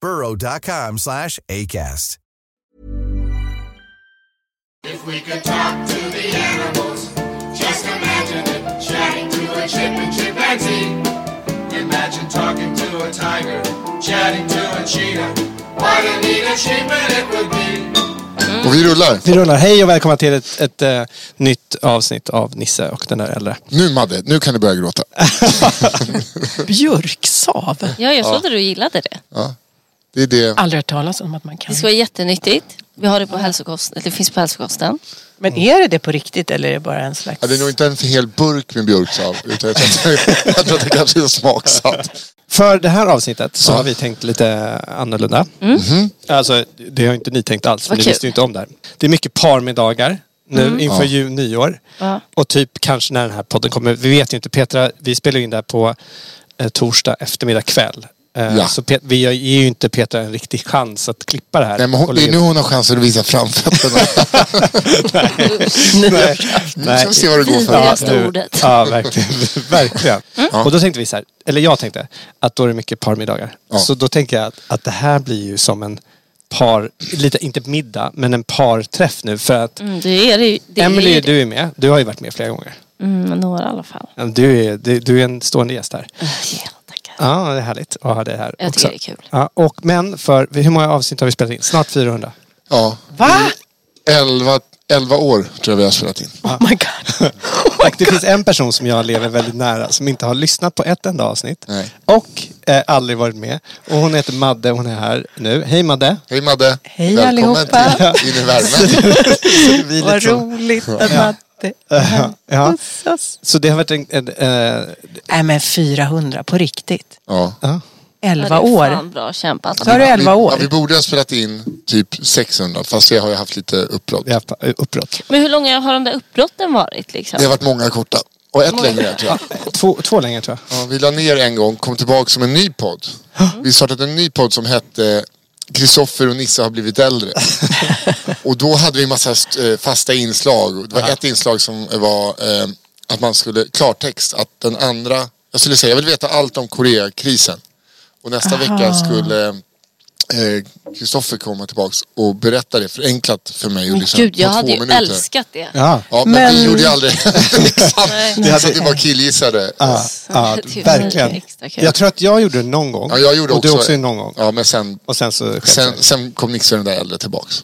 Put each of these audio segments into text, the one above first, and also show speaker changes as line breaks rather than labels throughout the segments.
burrow.com slash ACAST.
If we could talk to the animals, just imagine it. Chatting to a chip and chimpanzee. Imagine talking to a tiger, chatting to a cheetah. What a neat achievement it would be.
Och vi rullar.
Vi rullar. Hej och välkomna till ett, ett eh, nytt avsnitt av Nisse och den där äldre.
Nu Madde, nu kan du börja gråta.
Björksav.
Ja, jag trodde du gillade det.
Det är det.
Aldrig hört talas om att man kan.
Det ska vara jättenyttigt. Vi har det på hälsokost. Det finns på hälsokosten.
Men är det det på riktigt eller är det bara en slags...
Ja, det är nog inte en hel burk med björksav. Utan jag tror att, jag tror att det kanske är smaksatt.
För det här avsnittet så har vi tänkt lite annorlunda.
Mm.
Alltså, det har inte ni tänkt alls. För
Vad
ni
kul.
visste ju inte om det här. Det är mycket parmiddagar nu
Mm.
inför jul, nyår.
Ja.
Och typ kanske när den här podden kommer. Vi vet ju inte. Petra, vi spelar ju in det här på eh, torsdag eftermiddag kväll. Eh,
Ja.
Så Pet- vi ger ju inte Petra en riktig chans att klippa det här.
Nej, men hon,
Och
det är
lägga
nu
ut.
hon har chansen att visa framfötterna.
Nej.
Nu ska vi se vad det går
Ja,
för.
Finaste ordet.
Ja, verkligen. verkligen.
Mm.
Och då tänkte vi så här, eller jag tänkte, att då är det mycket parmiddagar.
Ja.
Så då tänker jag att, att det här blir ju som en par, lite, inte middag, men en parträff nu. För att
Mm, det är det ju. Det
Emily,
är det.
du är med. Du har ju varit med flera gånger.
Mm, några i alla fall.
Du är, du, du är en stående gäst här.
Ja, tackar.
Ja, det är härligt att ha det här
Mm. Jag
också.
tycker det är kul.
Ja, och men för, hur många avsnitt har vi spelat in? Snart 400.
Ja,
Va?
11, 11 år tror jag vi har spelat in.
Oh my god.
Och det finns en person som jag lever väldigt nära som inte har lyssnat på ett enda avsnitt.
Nej.
Och eh, aldrig varit med. Och hon heter Madde, hon är här nu. Hej Madde!
Hej Madde.
Hej
Välkommen
allihopa.
till- in i värmen.
Vi
Vad
liksom-
roligt att man...
Ja.
Pussas.
Så det har varit en... en, eh,
Nej men 400 på riktigt.
Ja.
ja.
11
Ja, Det
år.
är fan bra kämpat.
Så har du 11
Ja,
år.
vi borde ha spelat in typ 600. Fast vi har ju haft lite uppbrott.
Vi har haft uppbrott.
Men hur långa har de där uppbrotten varit liksom?
Det har varit många korta. Och ett
Många.
längre tror jag.
Två, två längre tror jag.
Ja, vi la ner en gång, kom tillbaka som en ny podd. Vi startade en ny podd som hette Kristoffer och Nissa har blivit äldre. och då hade vi massa eh, fasta inslag. Och Det var ett inslag som var eh, att man skulle, klartext, att den andra, jag skulle säga jag vill veta allt om Koreakrisen. Och nästa vecka skulle eh, Kristoffer komma tillbaka och berätta det förenklat för mig. Och
Men
liksom
lyssna
Gud,
på
jag
två
hade ju
minuter.
älskat det.
Ja.
Ja, men,
Men-
vi gjorde ju aldrig exakt.
Nej.
Så att vi bara killgissade.
Ja, ja,
Det är
verkligen.
extra kul.
Jag tror att jag gjorde det någon gång.
Ja, jag gjorde
och
också.
du också någon gång.
Ja, men sen,
Och sen så...
sen, sen kom Nixon den där äldre tillbaks.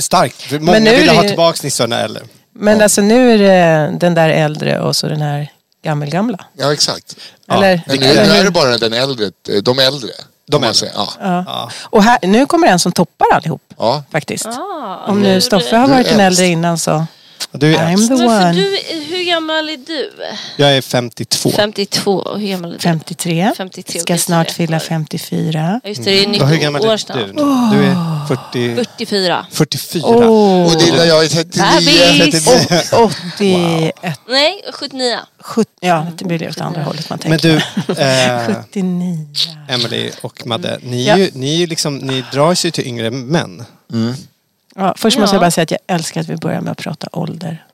Starkt. För Många
nu är
ville
det
ha
ju-
tillbaka Nissarna eller...
Men alltså nu är det den där äldre och så den här gammelgamla.
Ja, exakt.
Eller?
Men nu, nu är det bara den äldre, eh, de äldre.
De
om man
äldre.
säger. Ja.
Och här, nu kommer en som toppar allihop
Ja.
faktiskt.
Ah,
Om nu Stoffe har
Du är
varit en
äldst.
äldre innan så.
Du är
I'm
äldst.
the
men för
one.
du, hur gammal är du?
Jag är 52.
52. Och hur gammal är du?
53.
53,
Ska
okej,
snart
sorry.
fylla 54.
Ja, just det, det är
Och
90
hur gammal
år
är
snart.
du? Du är 40,
44.
44.
Och lilla jag är 39.
Bebis!
81.
Nej, 79.
70, ja, det blir det åt andra hållet man
Men
tänker.
du, eh,
79.
Emily och Madde, ni,
Ja.
är ju, ni, är ju liksom, ni drar sig till yngre män.
Ja, först måste
Ja.
jag bara säga att jag älskar att vi börjar med att prata ålder.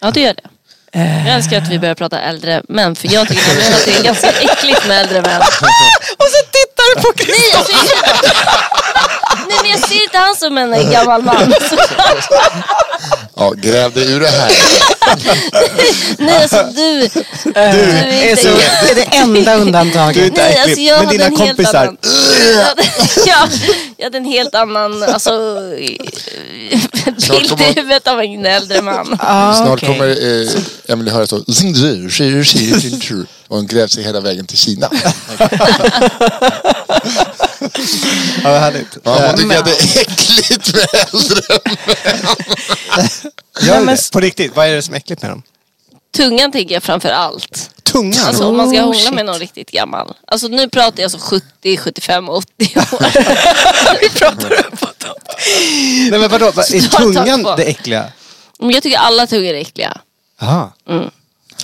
Ja, det gör det. Jag älskar att vi börjar prata äldre män, för jag tycker nämligen att det är ganska äckligt med äldre män.
Och så tittar du på
Nej, alltså, jag ser inte... Nej, men jag ser inte han som en gammal man. Så-
Ja, gräv dig ur det här.
Nej, alltså du. Du
är, så, det är det enda
Du är
undantaget.
inte
Nej, alltså
äcklig,
jag
men
hade
dina
en helt
kompisar.
annan- Jag hade- ja, jag hade en helt annan alltså, bild i
kommer-
huvudet av en äldre man.
Ja,
Snart
Ah, okej.
kommer eh, Emily höra så. "Zingzhu, zhu, zhi, zingzhu." Och hon grävt sig hela vägen till Kina.
Ja, vad härligt.
Ja, hon tycker att det är äckligt med äldre.
Gör
men
det.
s-
På riktigt, vad är det som är äckligt med dem?
Tungan tänker jag framför allt.
Tungan?
Alltså om man ska
Oh,
hångla
shit.
med någon riktigt gammal. Alltså nu pratar jag så 70, 75, 80 år.
Vi pratar uppåt.
Nej men vadå, vad- är
Så jag tar
tungan
två.
det äckliga?
Men jag tycker alla tungor är äckliga.
Aha.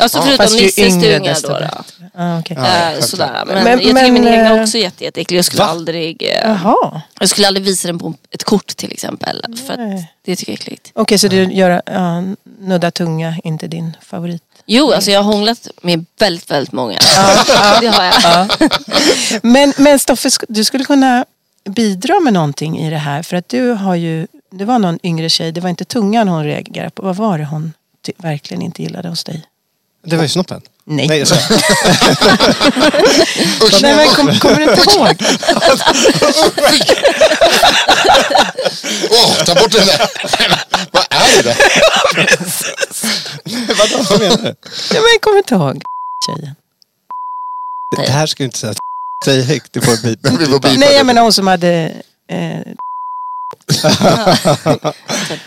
Alltså förutom
Fast ju
Nisses
yngre
tunga
desto
då. då.
bättre. Ah, okej.
Eh, sådär. Men,
Men-
jag tycker
men,
min egen
eh,
är också jätte, jätteäcklig. Jag skulle,
Va?
aldrig, eh,
Jaha. Okej,
jag skulle aldrig visa den på ett kort till exempel. För att
Nej.
det tycker jag är äckligt.
så du gör ja, nudda tunga, inte din favorit.
Jo, alltså jag har hånglat med väldigt, väldigt många. det har jag.
Men, men Stoffe, sk- du skulle kunna bidra med någonting i det här. För att du har ju, det var någon yngre tjej, det var inte tungan hon reagerade på. Vad var det hon ty- verkligen inte gillade hos dig?
Det var ju snoppen.
Nej.
Nej, jag skojar.
alltså, Usch,
Nej men kom, kommer du inte ihåg?
åh, ta bort den där. Vad är det där?
vadå, vad menar du?
Nej men kommer du inte ihåg tjejen?
Det här ska du inte säga. Säg högt, du får en bit.
Vi får bipa
Nej
det.
jag menar hon som hade... Eh,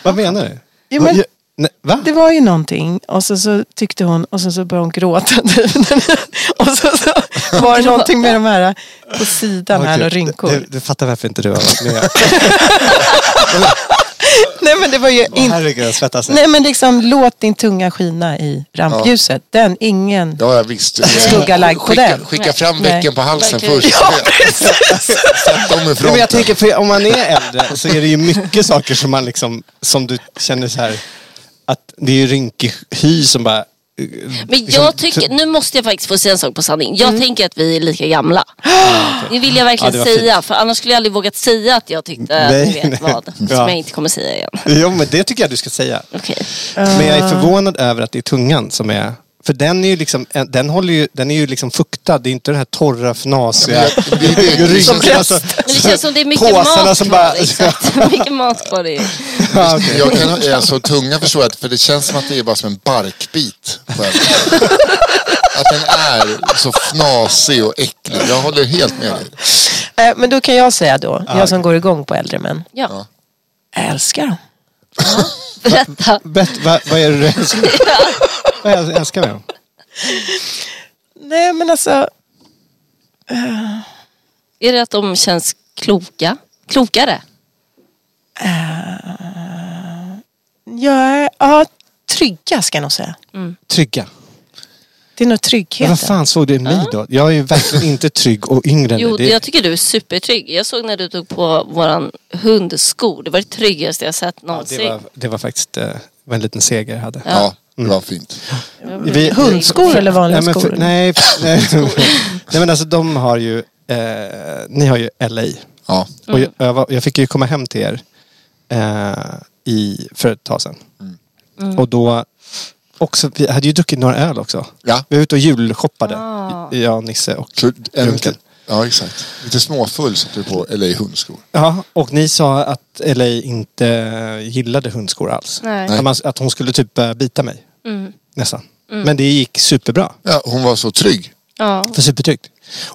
Vad menar du?
jo, men,
Ja, Nej, va?
det var ju någonting och så, så tyckte hon och sen så började hon gråta. och så, så var det någonting med de här eh, på sidan här
Okej,
och rynkor.
Du, du fattar varför inte du har varit med.
Nej men det var ju
Åh,
inte...
Herregud, jag svettas.
Nej men liksom låt din tunga skina i rampljuset. Den, ingen
Ja, ja, visst. Det är-
skugga lagd på
skicka,
den.
Skicka fram
Nej.
vecken på halsen
Verkligen.
först. Sätt dem i
Nej, men jag
fronten.
tänker, för om man är äldre så är det ju mycket saker som man liksom, som du känner så här, att det är ju rynkig hy som bara... eh,
Men
liksom, Mm.
jag tycker, nu måste jag faktiskt få säga en sak på sanning. Jag tänker att vi är lika gamla. Det vill jag verkligen
Ah, Ja, det var
säga. För annars skulle jag aldrig vågat säga att jag tyckte,
Nej,
du vet
nej.
vad. Som
Ja.
jag inte kommer säga igen.
Jo, men det tycker jag du ska säga.
Okej.
Men
Ah.
jag är förvånad över att det är tungan som är... För den är ju liksom, eh, den håller ju, den är ju liksom fuktad. Det är inte den här torra, fnasiga...
Det- det- det- det-
rynkan.
som-
Alltså,
Men det känns som det är mycket
Påsarna
mat
som
kvar. liksom.
bara-
Exakt, mycket mat kvar i.
ja, okej.
Jag kan, ha- alltså, tunga förstår jag, för det känns som att det är bara som en barkbit. på en. Att den är så fnasig och äcklig. Jag håller helt med dig.
Eh, Men då kan jag säga då, jag som går igång på äldre män.
Ja.
Jag älskar dem.
Berätta.
Bet, vad, vad är det du älskar? Vad är det jag älskar med dem?
Nej men alltså,
Är det att de känns kloka? Klokare?
jag är, ja, trygga ska jag nog säga.
Trygga.
Det är nog
Men
tryggheten.
vad fan såg du i mig då? Jag är ju verkligen inte trygg och yngre än
Jo,
dig. Det-
jag tycker du är supertrygg. Jag såg när du tog på våran hund skor. Det var det tryggaste jag sett någonsin.
det, var, det var faktiskt eh, var en liten seger jag hade.
Ja, det var fint.
Vi-
Hundskor eller vanliga
nej, men för-
skor?
nej, för- nej, nej men alltså de har ju, eh, ni har ju LA.
Ja.
Och
Mm.
jag, jag, var, jag fick ju komma hem till er eh, i, för ett tag sedan.
Mm.
Och då, också, vi hade ju druckit några öl också.
Ja.
Vi var ute och julshoppade,
Ah.
jag och Nisse och
Så en
Duncan.
lite, ja, exakt. Lite småfull satte du på, eller i hundskor.
Ja, och ni sa att LA inte gillade hundskor alls.
Nej.
Att, man, att hon skulle typ börja bita mig. Nästan. Men det gick superbra.
Ja, hon var så trygg.
Ja.
För supertryggt.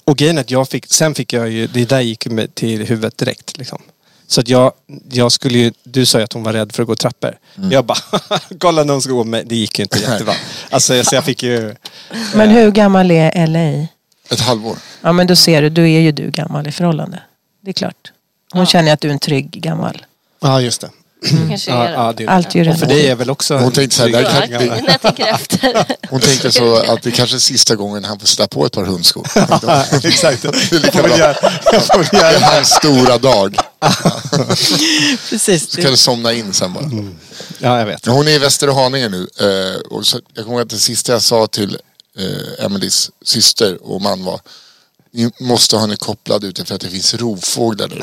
Och grejen är att jag fick, sen fick jag ju, det där gick ju mig till huvudet direkt liksom. Så att jag, jag skulle ju, du sa ju att hon var rädd för att gå i trappor. Jag bara, kolla när hon ska gå med Det gick ju inte jättebra. Alltså så jag fick ju,
Men hur gammal är LA?
Ett halvår.
Ja men då ser du, då är ju du gammal i förhållande. Det är klart. Hon känner att du är en trygg gammal.
ja just det.
Kanske
Ja,
är det.
ja, det
Allt är ju
och för
redan.
dig är väl också...
Hon tänkte så här, där
Ja,
kan-
När jag tänker efter.
Hon tänkte så att det kanske är sista gången han får sätta på ett par hundskor.
Exakt.
är lika
Jag får väl
bra.
göra- jag får väl
Det
göra-
är hans stora dag.
Precis.
Så kan du somna in sen bara.
Ja, jag vet.
Men Hon är i Västerhaninge nu. eh, Och så, jag kommer ihåg att det sista jag sa till eh, Emelies syster och man var ni måste ha henne kopplad ute för att det finns rovfåglar där.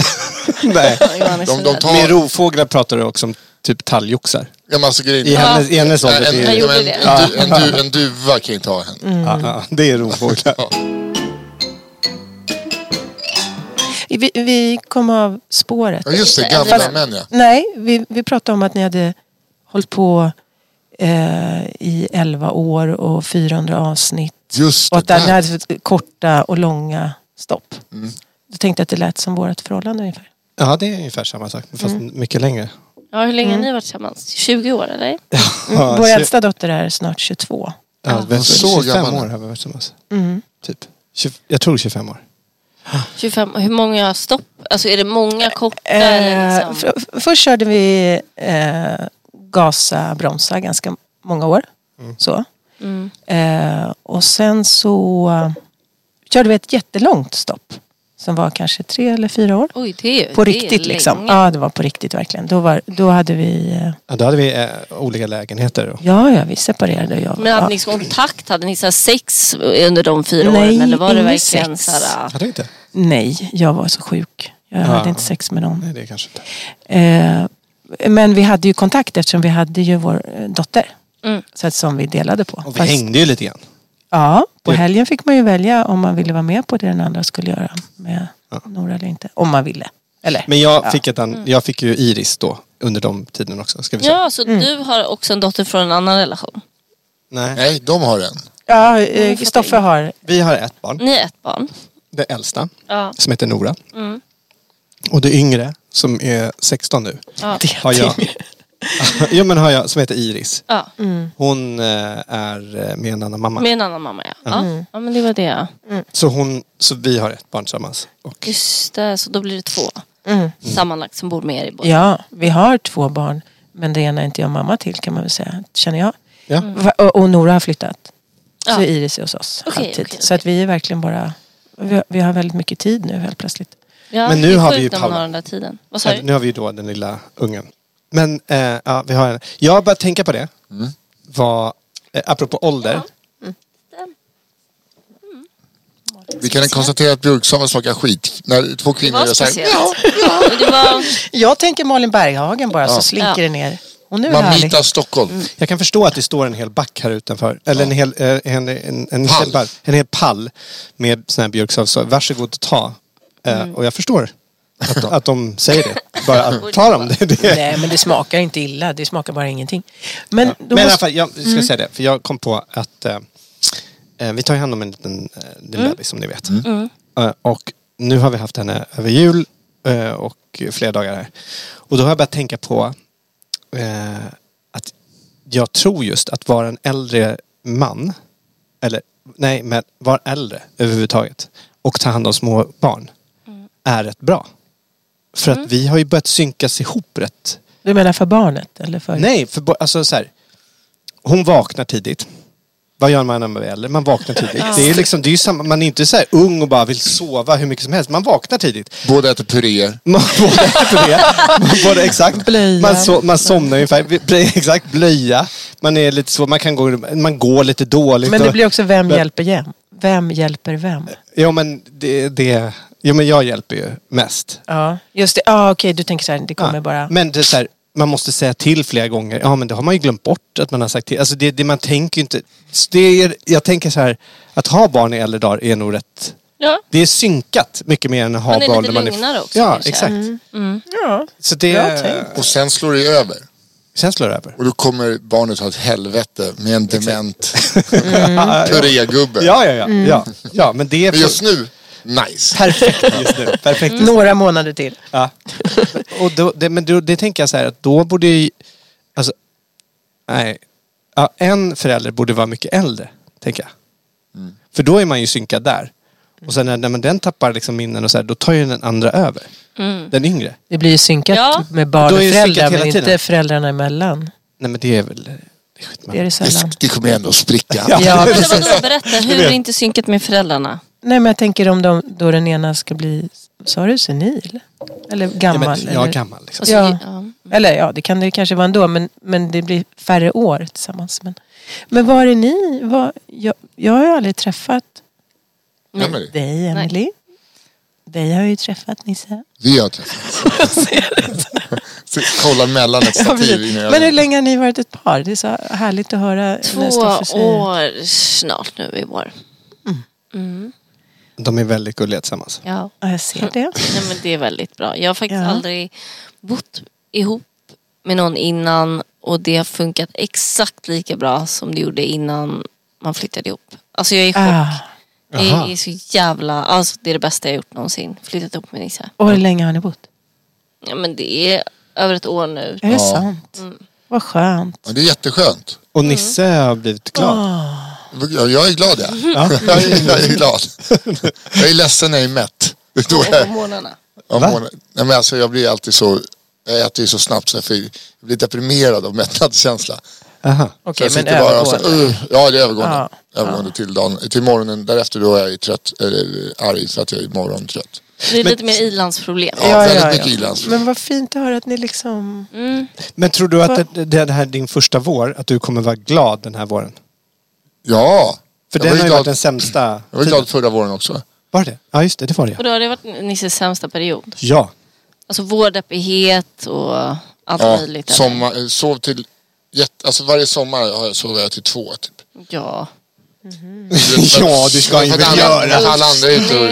Nej.
Johan är så
De, de
rädd.
tar,
Med rovfåglar pratar du också om typ talgoxar.
Ja, men alltså grejen
I hennes, i hennes ålder.
en,
det
Jag
är-
en,
gjorde
en,
det. Mm.
en, du, en, du, en duva kan ju ta henne.
Ja, ja, det är rovfåglar.
Vi, vi kom av spåret.
Ja just det,
Inte äldre
gamla
män.
män ja.
Nej, vi, vi pratade om att ni hade hållit på eh, i 11 år och 400 avsnitt.
Just
Och
det,
att ni
där. Mm.
hade korta och långa stopp. Du tänkte jag att det lät som vårt förhållande ungefär.
Ja, det är ungefär samma sak. Fast mycket längre.
Mm,
Ja, hur länge har ni
Mm.
varit tillsammans? 20 år eller?
Ja,
Vår
så-
äldsta dotter är snart 22.
Ja, ja,
Så
25
gammal.
år har vi varit tillsammans.
Mm.
Typ. Tjugo- Jag tror 25 år.
25, hur många stopp? Alltså är det många korta eller
Eh,
liksom?
f- först körde vi eh, gasa, bromsa ganska många år.
Mm.
Så.
Mm.
Eh, och sen så eh, körde vi ett jättelångt stopp. Som var kanske tre eller fyra år.
Oj, det är ju
På
det är
riktigt liksom.
länge.
Ja, det var på riktigt verkligen. Då, var, då hade vi... eh,
Ja, då hade vi eh, olika lägenheter. Och,
Ja, ja, vi separerade. och Jag,
Men hade
ja.
ni liksom kontakt? Hade ni så här sex under de fyra
Nej,
åren? Eller var det
ingen
verkligen
sex.
så här...
hade vi inte?
Nej, jag var så sjuk. Jag hade inte sex med någon.
Nej, det kanske inte.
Eh, men vi hade ju kontakt eftersom vi hade ju vår eh, dotter.
Mm.
Så att, som vi delade på.
Och vi
Fast-
hängde ju lite grann.
Ja, på
Det-
helgen fick man ju välja om man ville vara med på det den andra skulle göra med Nora eller inte. Om man ville. Eller?
Men jag, fick ett
Mm.
an... jag fick ju Iris då, under de tiden också. Ska vi säga.
Ja, så
Mm.
du har också en dotter från en annan relation?
Nej.
Nej, de har en.
Ja, eh, Kristoffer har...
Vi har ett barn,
Ni är ett barn?
det äldsta,
Ja. Mm.
som heter Nora. Och det yngre, som är 16 nu,
Ja.
har jag. jo, men har jag, som heter Iris.
Ja.
Hon eh, är eh, med en annan mamma.
Med en annan mamma ja. Ja.
Mm.
ja men det var det.
Så, hon, så vi har ett barn tillsammans. Och
Just det, så då blir det två sammanlagt som bor med er i båten.
Mm. Ja, vi har två barn. Men det ena är inte jag mamma till kan man väl säga, känner jag.
Ja.
Mm.
Va- Och, och Nora har flyttat. Så
Ja.
Iris är hos oss
Okej,
alltid.
okej,
Så att vi är verkligen bara... Vi har, vi har väldigt mycket tid nu helt plötsligt.
Ja,
Men nu
det är
har
sjukt
vi ju
när man
Paula.
har den där tiden. Vad sa
Nej,
du?
nu har vi ju då den lilla ungen. Men eh, ja, vi har en. Jag började tänka på det. Vad, eh, apropå ålder.
Vi kan konstatera att björksamen smakar skit. När två
Det
kvinnor
var
gör så här,
speciellt. Men Det var,
Jag tänker Malin Berghagen bara så slinker
Ja.
det ner. Hon är väl härlig.
Mamita Stockholm.
Mm.
Jag kan förstå att det står en hel back här utanför. Eller en, hel, eh, en, en, en,
Pall.
hel bar, en hel pall med sån här björksav. Så varsågod att ta. Eh, Och jag förstår att, att de säger det. Bara att ta dem. Det, det.
Nej men det smakar inte illa, det smakar bara ingenting. Men, då
Men i alla
måste... Mm.
fall, jag ska säga det. För jag kom på att eh, eh, vi tar ju hand om en liten eh, liten
Mm.
bebis som ni vet. Eh, och nu har vi haft henne över jul eh, och flera dagar här. Och då har jag börjat tänka på eh, att jag tror just att vara en äldre man, eller nej, men vara äldre överhuvudtaget och ta hand om små barn
Mm.
är rätt bra. För att vi har ju börjat synkas ihop rätt
Du menar för barnet? Eller för...
Nej, för bo- alltså så här. Hon vaknar tidigt. Vad gör man när man är äldre? Man vaknar tidigt. Det är ju liksom, det är ju samma, man är inte så här ung och bara vill sova hur mycket som helst. Man vaknar tidigt.
Båda äter puréer.
Man både äter det. Man både, exakt.
Blöja.
Man, so, man somnar ungefär. Vi- pre- Exakt, blöja. Man är lite så, man kan gå, man går lite dåligt.
Men det
och-
blir också vem
Men-
hjälper vem? Vem hjälper vem?
Ja men det, det, ja men jag hjälper ju mest.
Ja, just det. Ja, okej, du tänker så här, det kommer
Ja,
bara...
Men det är så här, man måste säga till flera gånger. Ja, men det har man ju glömt bort att man har sagt till. Alltså det, det man tänker ju inte. Så det är, jag tänker så här, att ha barn i äldre dagar är nog rätt...
ja.
Det är synkat mycket mer än att ha
Man är
barn
lite lugnare också,
Ja,
kanske.
exakt.
Ja.
Så det...
Bra tänkt.
Och sen slår det över.
Sen slår det över.
Och då kommer barnet ha ett helvete med en dement
Mm.
Ja, ja,
purégubbe.
ja, ja,
Mm.
ja, ja. Men det är
Men just nu, nice.
perfekt just nu.
Mm.
Perfekt just nu.
Mm. Några månader till.
Ja. Och då, det, men då, det tänker jag så här att då borde ju... Alltså... Nej. Ja, en förälder borde vara mycket äldre, tänker jag.
Mm.
För då är man ju synkad där. Och sen när, när man den tappar liksom minnen och så här, då tar ju den andra över.
Mm.
Den yngre.
Det blir ju synkat
Ja.
med barn
Då
och
är det
föräldrar,
synkat hela
men inte
tiden.
föräldrarna emellan.
Nej men det är väl... Det är skitmamma.
Det är det sällan.
Det kommer ändå spricka.
Ja.
Ja,
Men
precis.
vadå, berätta, hur är det inte synkat med föräldrarna?
Nej, men jag tänker om de, då den ena ska bli, sa du senil? Eller
ja,
gammal?
men, ja,
eller?
gammal liksom.
Och så-
Ja.
ja.
Eller ja, det kan det kanske vara ändå, men, men det blir färre år tillsammans. Men, men var är ni? Var, jag, jag har ju aldrig träffat
Ja, men det-
dig, Emily. Dig har jag ju träffat, Nisse.
Vi har träffats. kollar mellan ett
Ja,
stativ.
precis.
innan jag-
Men hur länge har ni varit ett par? Det är så härligt att höra. när
Två
Stoffe säger-
år snart nu i vår.
De är väldigt gulliga tillsammans.
Ja.
Ja, jag ser det.
Nej, men det är väldigt bra. Jag har faktiskt
Ja.
aldrig bott ihop med någon innan och det har funkat exakt lika bra som det gjorde innan man flyttade ihop. Alltså jag är i chock.
Ah,
Det är så jävla, alltså det är det bästa jag gjort någonsin. Flyttat ihop med Nisse.
och hur länge har ni bott?
Ja men det är över ett år nu.
Är det sant?
Mm.
Vad skönt.
Men det är jätteskönt.
Mm.
Och Nisse har blivit glad.
Jag, jag är glad jag.
Mm-hmm.
jag, är, jag är glad. Jag är ledsen när jag är mätt. Det är då
Och
jag,
på morgnarna.
jag,
Va?
mår, nej, men alltså, jag blir alltid så, jag äter ju så snabbt så jag får- jag blir deprimerad av mättnadskänsla.
Aha.
Okej,
Så jag
men
sitter bara och så,
övergående.
"Ugh." ja, det är övergående.
Ja,
övergående till, dagen, till morgonen. Därefter då är jag ju trött, eller arg för att jag är morgontrött.
Det är lite mer ilandsproblem.
Ja, väldigt mycket ilands.
Men vad fint att höra att ni liksom...
Mm.
Men tror du att det, det här är din första vår, att du kommer vara glad den här våren?
Ja,
För
jag, var
den har
ju
ju
glad,
varit den sämsta.
jag var ju
tiden.
glad förra våren också.
Var det Ja, just det. Det var det
Och då har det varit Nisses sämsta period.
ja.
Alltså vårdeppighet och allt
Ja,
möjligt. eller?
sommar, eh, sov till, jätte, alltså varje sommar har jag sovit till två typ.
Ja.
Ja, du ska ju
För att
väl
alla-
göra.
Alla andra är ute och,
Nej.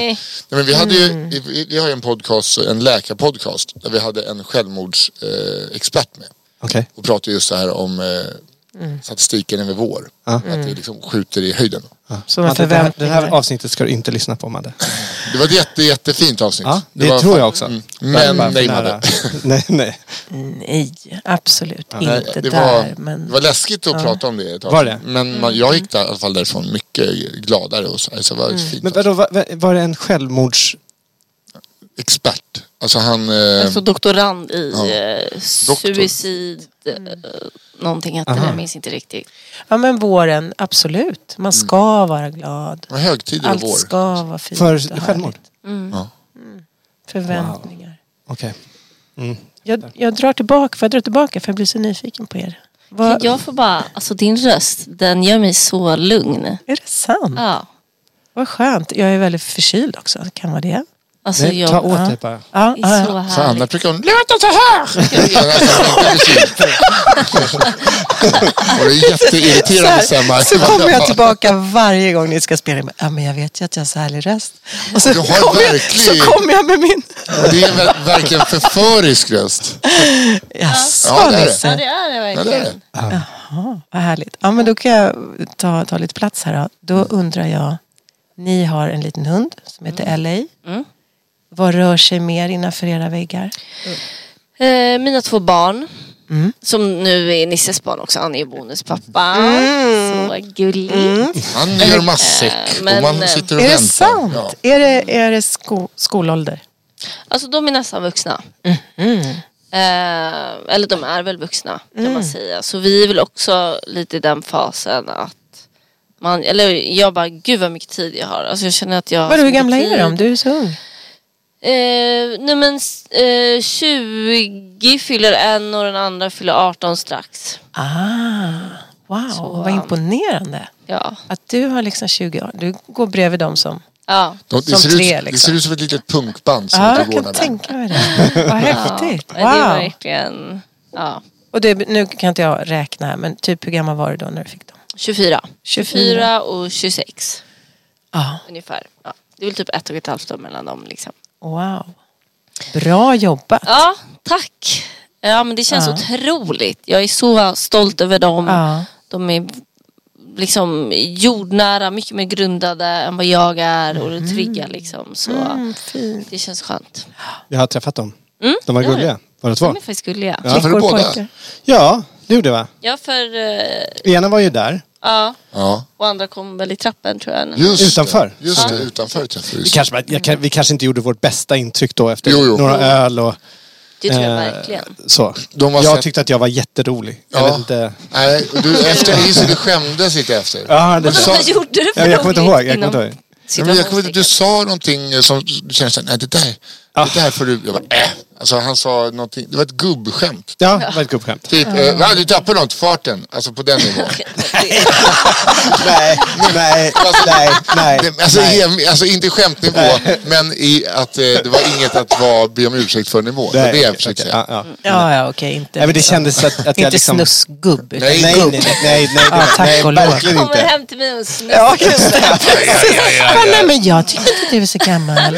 nej, men vi, hade ju, vi, vi har ju en podcast, en läkarpodcast, där vi hade en självmordsexpert eh, expert med.
Okej.
Och pratade just så här om eh, statistiken över vår. Att det liksom skjuter i höjden.
Sådana
Madde, det, här, det
förväntningar.
här avsnittet ska du inte lyssna på, Madde.
Det var ett jätte, jättefint avsnitt.
Ja, det,
var
tror
fan- Mm.
jag också.
Men
Bara för
nej,
nära.
Madde.
nej, nej.
Nej, absolut inte
Det
där.
var,
Men...
det var läskigt att prata om det ett tag.
Var det?
Men man, jag gick där, i alla fall därifrån mycket gladare. Och så, alltså, det var ett fint
Men vadå, var, var det en självmords...
Expert. Alltså han... Eh,
Alltså doktorand i
Ja.
eh,
Doktor.
suicid, eh, någonting hette det, jag minns inte riktigt.
Ja, men våren, absolut. Man ska vara glad.
vad högtider och
Allt
Mm. vår.
ska vara fint
För
och härligt.
självmord?
Ja.
Förväntningar.
Okej.
Jag, jag drar tillbaka, får jag dra tillbaka för jag blir så nyfiken på er.
Kan
Vad,
Jag får bara, alltså din röst, den gör mig så lugn.
Är det sant?
Ja.
Vad skönt. Jag är väldigt förkyld också. Kan vara det.
Alltså
Nej,
jag,
ta åt dig bara.
Ah, Ja,
det är
ja.
så
För Anna
härligt.
brukar hon... Låter så här! och det är
Så,
jätteirriterande sen.
här,
Maja.
så kommer jag tillbaka varje gång ni ska spela. in. Ja, men jag vet ju att jag har så härlig röst. Och så,
Du har
kommer jag, så
verkligen-
kommer jag med min...
Och Det är ver- verkligen förförisk röst.
Jaså
Ja, det
Ja
är det.
Nisse,
det är det
Ja, det är det.
verkligen.
vad härligt. Ja, men då kan jag ta, ta lite plats här. Då. då undrar jag, ni har en liten hund som heter LA.
Mm.
Vad rör sig mer innanför era väggar?
Eh, mina två barn.
Mm.
Som nu är Nisses barn också, han är ju bonuspappa. Så gulligt.
Han gör matsäck
men,
och man
eh,
sitter och
Är det
väntar.
sant?
Ja.
Är det, är det sko, skolålder?
Alltså de är nästan vuxna.
Mm-hmm.
Eh, eller de är väl vuxna kan
Mm.
man säga. Så vi är väl också lite i den fasen att man, eller jag bara, gud vad mycket tid jag har. Alltså jag känner att jag... har
Vadå,
så
hur
mycket
gamla är
tid.
de? Du är så ung.
Eh, nej men eh, 20 fyller en och den andra fyller 18 strax.
Ah, wow, vad imponerande.
Ja.
Att du har liksom 20 år. Du går bredvid dem som...
ja.
De, det,
Som
ser
tre,
ut, det
liksom.
ser ut som ett litet punkband som
Ja,
är
jag
ute och
kan
går där.
tänka mig det. Vad häftigt.
Ja, Det är
Wow.
verkligen... Ja.
Och det, nu kan inte jag räkna här, men typ hur gammal var du då när du fick dem?
24.
24
24 och 26
Ja.
ungefär. Ja. Det är väl typ ett och ett halvt år mellan dem liksom.
Wow. Bra jobbat.
Ja, tack. Ja, men det känns
Ja.
otroligt. Jag är så stolt över dem.
Ja.
De är liksom jordnära, mycket mer grundade än vad jag är och det trygga liksom. Så
Mm, fint.
det känns skönt.
Jag har träffat dem.
Mm.
De var
ja, ja.
gulliga. Var
De
det två?
är faktiskt gulliga.
Ja, för
Flickor,
båda.
pojkar.
Ja, det gjorde jag.
Ja, för eh,
Ena var ju där.
ja,
Ja.
och andra kom väl i trappen tror jag.
Just
Utanför.
Det. Just det, utanför träffade
Vi
vi.
kanske, var- jag, kan- vi kanske inte gjorde vårt bästa intryck då efter
Jo, jo.
några öl och
Det tror jag
eh,
verkligen.
så.
De var
jag
sett-
tyckte att jag var jätterolig. Jag
Ja.
vet inte.
Nej, och du, efter, jag gissar du skämdes lite efter.
Ja, det
Vadå,
var...
vad gjorde du för
Ja, jag kommer inte
roligt
ihåg. Jag
inom
kommer inte ihåg.
Ja, men jag
situationstecken?
kommer eh,
Ah.
ihåg att du sa någonting som du kände såhär, nej det där, det där får du... Jag bara, äh. Alltså han sa någonting, det var ett gubbskämt.
Ja, det var ett gubbskämt.
Typ, eh, va, du tappade något, farten. Alltså på den nivån.
Nej, nej, nej, nej.
Det- Alltså,
nej.
hem- alltså inte skämtnivå, men i att eh, det var inget att vara, be om ursäkt för nivå. Det var det jag försökte säga.
Ja, ja.
Ja, ja, okej. Inte,
Nej, men det kändes att, att jag
inte
liksom...
snuskgubb. utan
Nej,
Nej, nej,
gubb.
nej, nej, nej,
Ja, tack
nej,
och lov.
verkligen
Kommer
inte.
hem till mig och snusar.
Ja, just det. Ja, nej, men jag tycker inte du är så gammal.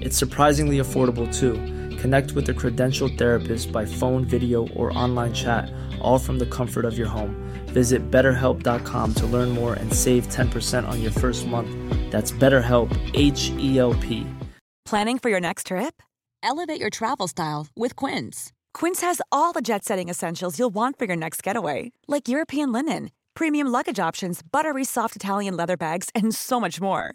It's surprisingly affordable too. Connect with a credentialed therapist by phone, video, or online chat, all from the comfort of your home. Visit betterhelp.com to learn more and save 10% on your first month. That's BetterHelp, H E L P.
Planning for your next trip? Elevate your travel style with Quince. Quince has all the jet setting essentials you'll want for your next getaway, like European linen, premium luggage options, buttery soft Italian leather bags, and so much more.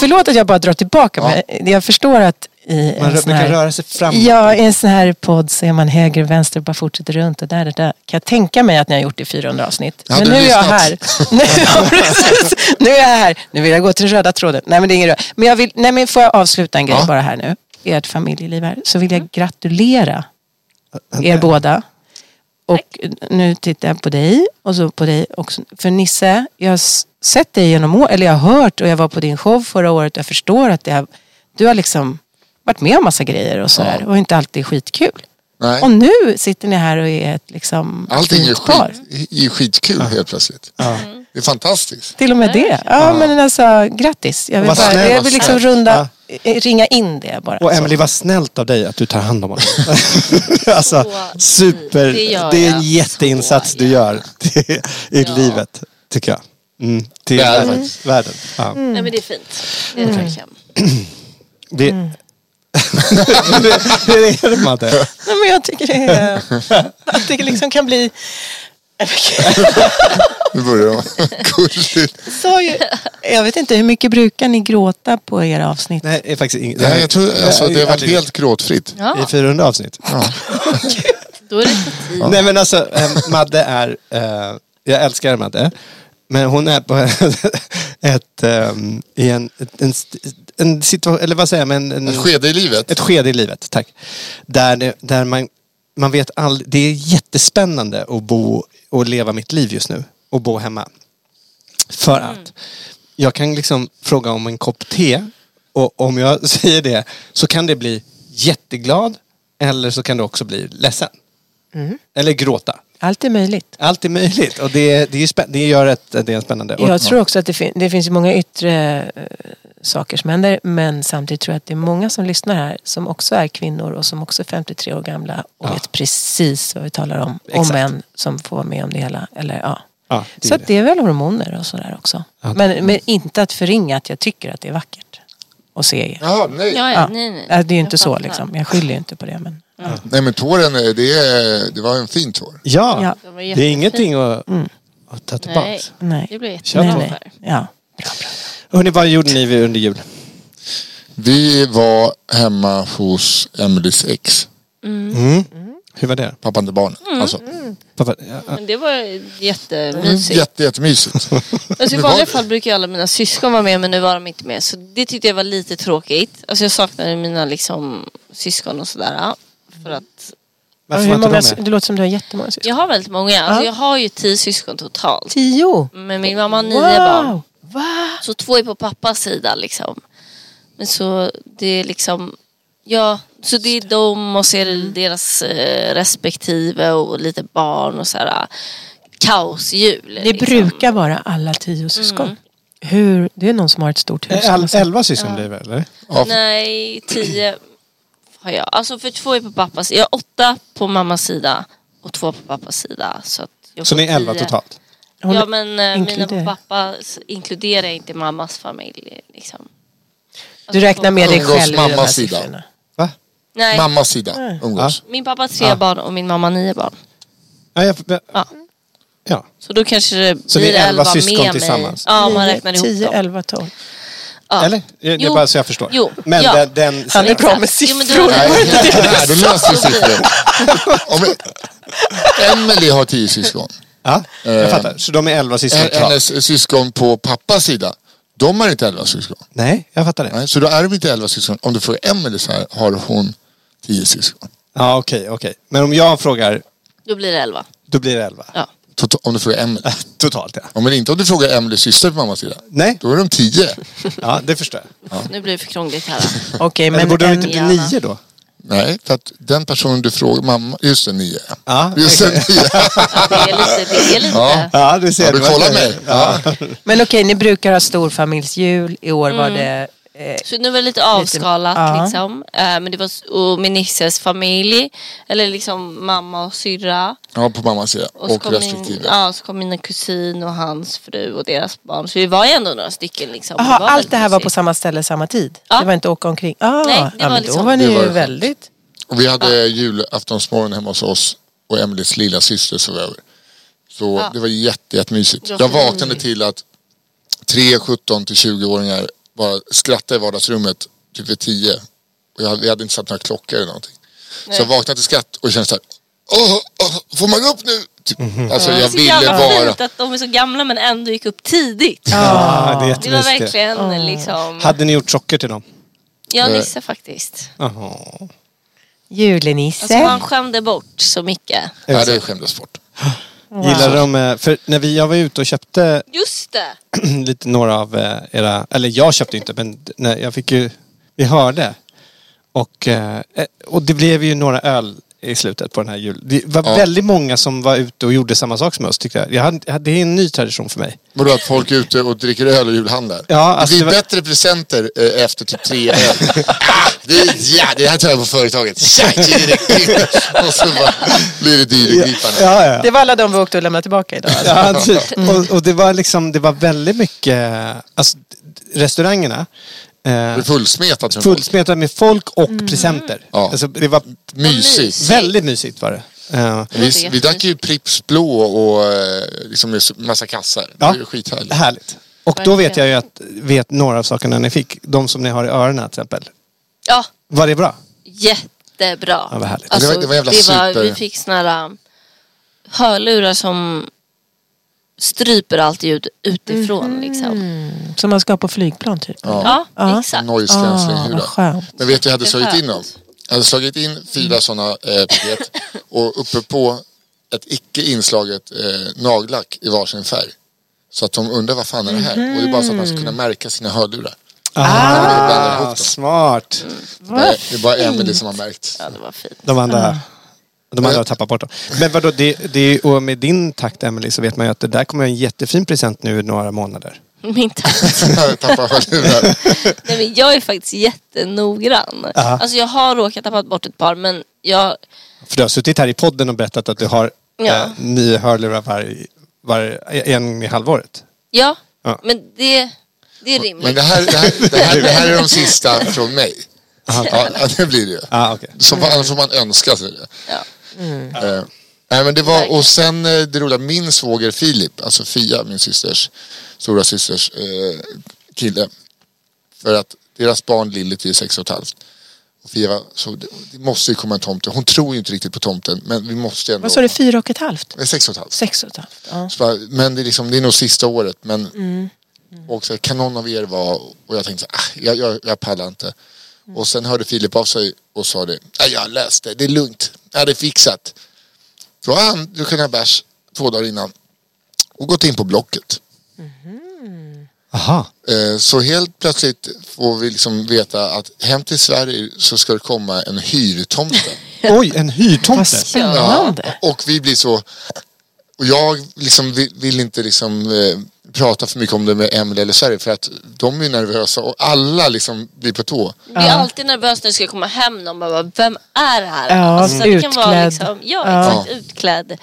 Förlåt att jag bara drar tillbaka mig. Jag förstår att i
Man
en
rö-
sån
brukar
här...
röra sig framåt.
Ja, i en sån här podd så är man höger och vänster och bara fortsätter runt och där, där, där. Kan jag tänka mig att ni har gjort det i 400 avsnitt.
Ja,
men
du
nu är jag
lyssnat.
här. nu, ja, precis. nu är jag här. Nu vill jag gå till den röda tråden. Nej men det är ingen röd. Men, jag vill, nej, men får jag avsluta en grej
Ja.
bara här nu. Ert familjeliv här. Så vill jag gratulera
Mm.
er båda. Och nu tittar jag på dig och så på dig också. För Nisse, jag har s- sett dig genom år, eller jag har hört och jag var på din show förra året. Jag förstår att det har, du har liksom varit med om massa grejer och sådär. Och inte alltid skitkul.
Nej.
Och nu sitter ni här och är ett liksom
Allting är,
fint par.
skit, är skitkul helt plötsligt. Det är fantastiskt.
Till och med det. Ja, men alltså grattis. Jag vill,
Vad
bara,
snällt,
jag
vad
vill liksom
snällt.
runda, eh, ringa in det bara.
Och Emily, vad snällt av dig att du tar hand om honom. alltså,
Så
super.
fint. Det gör
Det är en
jag.
jätteinsats
Så
du gör i livet, tycker jag. Mm, till
Världen.
världen. världen. Ja.
Mm.
Nej men det är fint. Det är tacksam.
Det...
Mm.
Hur är det Madde?
Nej, men jag tycker det är... Att det liksom kan bli...
Nu börjar de. Gulligt.
Så ju, jag vet inte, hur mycket brukar ni gråta på era avsnitt?
Nej, det är faktiskt inget.
Nej, jag tror, alltså, det har varit helt gråtfritt.
I 400 avsnitt.
Då är det på tid.
Nej men alltså, eh, Madde är, eh, jag älskar Madde, men hon är på ett, eh, i en, en, en situation, eller vad säger jag, men en,
Ett skede i livet.
ett skede i livet, tack. Där, det, där man, man vet all, det är jättespännande att bo och leva mitt liv just nu och bo hemma. För att jag kan liksom fråga om en kopp te och om jag säger det så kan det bli jätteglad eller så kan det också bli ledsen.
Mm.
Eller gråta.
Allt är möjligt.
Allt är möjligt och det, det, är ju spä- det gör att det är spännande. Och-
Jag tror också att det, fin- det finns ju många yttre eh, saker som händer men samtidigt tror jag att det är många som lyssnar här som också är kvinnor och som också är 53 år gamla och vet precis vad vi talar om. Och
Exakt.
män som får vara med om det hela. Eller, ja.
Ja, det är
Så att det är väl hormoner och sådär också. Men, men inte att förringa att jag tycker att det är vackert att se er.
Jaha, nej.
Ja, ja, nej, nej.
Alltså, det är ju inte
Jag
så
fattar.
liksom. Jag skyller ju inte på det men.
nej, men tåren, eh, det, är- det var en fin tår.
Ja,
Ja. Mm.
Det var
det är
jättefint.
ingenting att, att ta
Nej.
tillbaka.
Nej.
Det blir
Kör
jättebra
på.
nej, nej.
affär.
Ja.
Hörni, vad gjorde ni under jul?
Vi var hemma hos Emelies ex.
Hur var det? äh,
Pappan till barnen. Alltså,
Pappa, ja, ja.
Men det var jättemysigt.
jätte, jättemysigt.
Alltså, I
Det var
vanliga
det.
fall brukar ju alla mina syskon vara med men nu var de inte med. Så det tyckte jag var lite tråkigt. Alltså jag saknade mina liksom, syskon och sådär. ja. För att
Varför var
hur
inte
många,
de med?
det låter som du har jättemånga syskon.
jag har väldigt många. Alltså, jag har ju tio syskon totalt.
Tio!
Men min mamma har nio barn.
Wow! Va?
Så två är på pappas sida liksom. Men så det är liksom, ja, så det är dem och så är det deras eh, respektive och lite barn och så här kaosjul. liksom.
Det brukar vara alla
Mm.
tio syskon. Hur, det är någon som har ett stort hus.
Äh, El, elva syskon blir det eller?
Nej, tio har jag. Alltså för två är på pappas, jag har åtta på mammas sida och två på pappas sida. Så, att jag
Så
får
ni är elva
tio.
totalt?
Ja men eh, mina
inkluderar.
på pappas inkluderar inte mammas familj liksom.
Du räknar med dig
Umgås
själv i de här
mammas sida.
siffrorna.
Va?
Nej,
Mammas sida umgås.
min pappa har tre barn och min mamma nio barn.
Ja, jag, men-
Ja.
ja.
Så då kanske det
Så
blir
det är elva syskon
med mig.
tillsammans?
Ja, om man räknar ihop
10,
dem.
11, 12.
Ja.
Eller? Det är
Jo.
bara så jag förstår.
Jo.
Men
Ja.
den, den,
Han är
Exakt.
bra med
Jo, men då-
siffror.
Nej, nej, då löser vi siffror. Om, Emily har tio syskon.
ja, jag fattar. Så de är elva
eh,
syskon
H-
totalt?
Hennes eh, syskon på pappas sida, de har inte elva syskon.
Nej, jag fattar det.
Nej, så då är de inte elva syskon. Om du frågar Emily så här, har hon tio syskon?
Ja, okej, okej. Men om jag frågar,
Då blir det elva.
då blir det elva?
Ja.
Tot- om du frågar Emily.
Totalt ja.
Ja, men inte om du frågar Emilys syster på mammas sida.
Nej,
Då är de tio.
ja, det förstår jag.
Nu blir det för krångligt här.
Okej,
Men,
men
borde de
en,
inte bli
Ja.
nio då?
Nej, för att den personen du frågar, mamma, just det, nio.
Ja,
just det,
exakt.
nio.
Ja, det är lite. Det är lite.
Ja.
Ja, du ser.
Har
det
du
var
kollat
det.
mig? Ja.
men okej, ni brukar ha storfamiljsjul. I år
Mm.
var det... Eh,
Så nu var det lite avskalat
ja.
liksom. Eh, men det var, s- och min nisses familj, eller liksom mamma och syrra.
ja, på mammas sida.
Och, så
Och
kom min,
respektive.
ja, så kom mina kusin och hans fru och deras barn. Så vi var ju ändå några stycken liksom.
aha,
var
allt
väldigt
det här var på
mysigt.
samma ställe samma tid?
Ja.
Det var inte åka omkring? Ah,
Nej, det
ja,
var
men då
liksom-
var ni
Det var
ju
det.
väldigt...
Och vi hade julaftonsmorgon hemma hos oss och Emelies lilla syster sov över. Så det var jätte, jättemysigt.
Det var
Jag
fint.
vaknade
Mm.
till att tre 17 till 20-åringar bara skrattade i vardagsrummet typ vid 10. Och jag, hade- vi hade inte satt några klockor eller någonting. Så jag vaknade till skratt och kände så här, åh, åh, får man gå upp nu? Typ. Alltså jag
Det är så
ville
jävla
vara...
fint att de är så gamla men ändå gick upp tidigt.
Ja, det är
Det var
jättemysigt.
verkligen
Mm.
liksom.
Hade ni gjort socker till dem?
Ja,
Eh.
Nisse faktiskt.
Jaha.
Alltså,
Julenisse.
han skämde bort så mycket.
Nej, det skämdes bort.
Gillade de, eh, för när vi, jag var ute och köpte
Just det!
lite några av eh, era, eller jag köpte inte men d- nej, jag fick ju, vi hörde. Och, eh, och det blev ju några öl i slutet på den här julen. Det var
Ja.
väldigt många som var ute och gjorde samma sak som oss tyckte jag. jag hade, det är en ny tradition för mig.
Vadå att folk är ute och dricker öl och julhandlar?
Ja, alltså
det blir
det var-
bättre presenter eh, efter typ tre öl. Ah, det, är- ja, det här tar jag på företaget. Tja, ge det till. och så bara blir det dyregripande.
Ja, ja.
Det var alla de vi åkte och lämnade tillbaka idag. Alltså.
Ja, typ. och, och det var liksom, det var väldigt mycket, alltså d- restaurangerna. Eh,
Det är fullsmetat. med folk.
fullsmetade med folk och presenter.
Ja.
Alltså, det var
Mysigt.
väldigt mysigt var det. Eh,
Vi, vi drack ju Pripps blå och eh, liksom med s- massa kassar. Det
Ja.
var ju skithärligt.
Härligt. Och då vet jag ju att, vet några av sakerna ni fick, de som ni har i öronen till exempel.
Ja,
Var det bra?
jättebra.
Ja, vad härligt.
Alltså,
Det var- det var jävla super-
Vi fick såna här um, hörlurar som stryper allt ljud utifrån liksom.
Som man ska ha på flygplan typ.
Ja,
Mhm. Ja.
exakt.
Noise cancelling
Ah, vad
hura.
skönt.
Men vet du, jag hade
Det är
slagit in
skönt.
dem. Jag hade slagit in
Mm.
fyra sådana eh, paket och uppe på ett icke inslaget eh, nagellack i varsin färg. Så att de undrar vad fan är det här? Och det är bara så att man ska
Mhm.
kunna märka sina hörlurar. Ah.
Ah, smart.
Nej, det är bara Emelie som har märkt.
Ah, Ja, det var fint.
De andra, de andra har tappat bort dem. Men vadå, det, det, är ju- och med din takt Emily så vet man ju att det där kommer en jättefin present nu i några månader.
Min tack.
Tappar hörlurar.
Nej, men jag är faktiskt jättenoggrann. Alltså jag har råkat tappa bort ett par men jag,
För du har suttit här i podden och berättat att du har eh,
Ja.
nio hörlurar var, var, eh, en i halvåret.
ja,
Ja.
men det, det är rimligt.
Men det här, det, här, det, här, det här är de sista från mig. Ja, ja, det blir det ju.
Ah, okay.
Som, annars får man önska sig det.
Ja.
Eh, nej, men det var,
Verkligen.
och sen eh, det roliga, min svåger Filip, alltså Fia, min systers, stora systers eh, kille. För att deras barn Lilith är ju sex och ett halvt. Och Fia var, så det, det måste ju komma en tomte. Hon tror ju inte riktigt på tomten men vi måste ändå.
Vad sa du, fyra och ett halvt?
Eh, Sex och ett halvt.
Sex och ett halvt? Ja.
Så bara, men det är, liksom, det är nog sista året. Men Och så, här, kan någon av er vara... Och jag tänkte så, här, ah, jag, jag, jag pallar inte. Och sen hörde Filip av sig och sa det. Ah, jag läste, det är lugnt. Jag hade fixat. Då har han druckit en bärs två dagar innan. Och gått in på Blocket.
Aha.
Eh, Så helt plötsligt får vi liksom veta att hem till Sverige så ska det komma en hyrtomte.
Oj, en
Vad
hyrtomte.
spännande.
Och vi blir så... Och jag liksom vill, vill inte liksom eh, prata för mycket om det med Emelie eller Sverige för att de är nervösa och alla liksom blir på tå.
Vi är alltid nervösa när vi ska komma hem. Någon bara, vem är det här? Alltså,
Ja,
det kan vara
utklädd.
liksom, ja,
Ja.
exakt. Utklädd.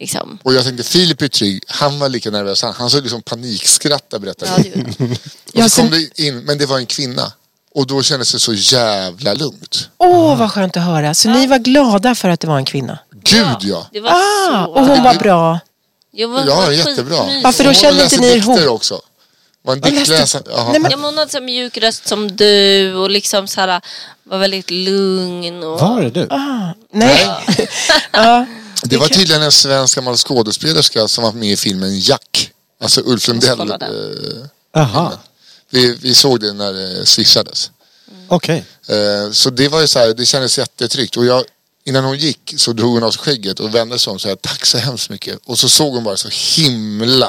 Liksom.
Och jag tänkte Filip är trygg, han var lika nervös. Han, han såg liksom panikskratta berättar
Ja,
han.
det är det.
Ja,
Och så kom
sen-
det in, men det var en kvinna. Och då kändes det så jävla lugnt.
Åh, vad skönt att höra. Så ni var glada för att det var en kvinna?
Gud ja!
det var
Ah,
så...
och hon var bra.
Jag var,
Ja,
var
jättebra.
skitmysig.
Ja, för då
Hon
kände
läser
inte ni er
dikter
hon-
också. Var en
Ja, läste-
diktläsare. Ja.
Nej, men-
Ja, men hon hade så här mjuk röst som du och liksom så här, var väldigt lugn. Och...
Var är du?
Nej. ja.
Det var tydligen en svensk gammal skådespelerska som var med i filmen Jack. Alltså Ulf Lundell.
kolla
eh,
Aha.
Vi, vi såg det när det swishades.
Okej.
Eh, Så det var ju så här, det kändes jättetryggt. Och jag, innan hon gick så drog hon av sig skägget och vände sig om och sa tack så hemskt mycket. Och så såg hon bara så himla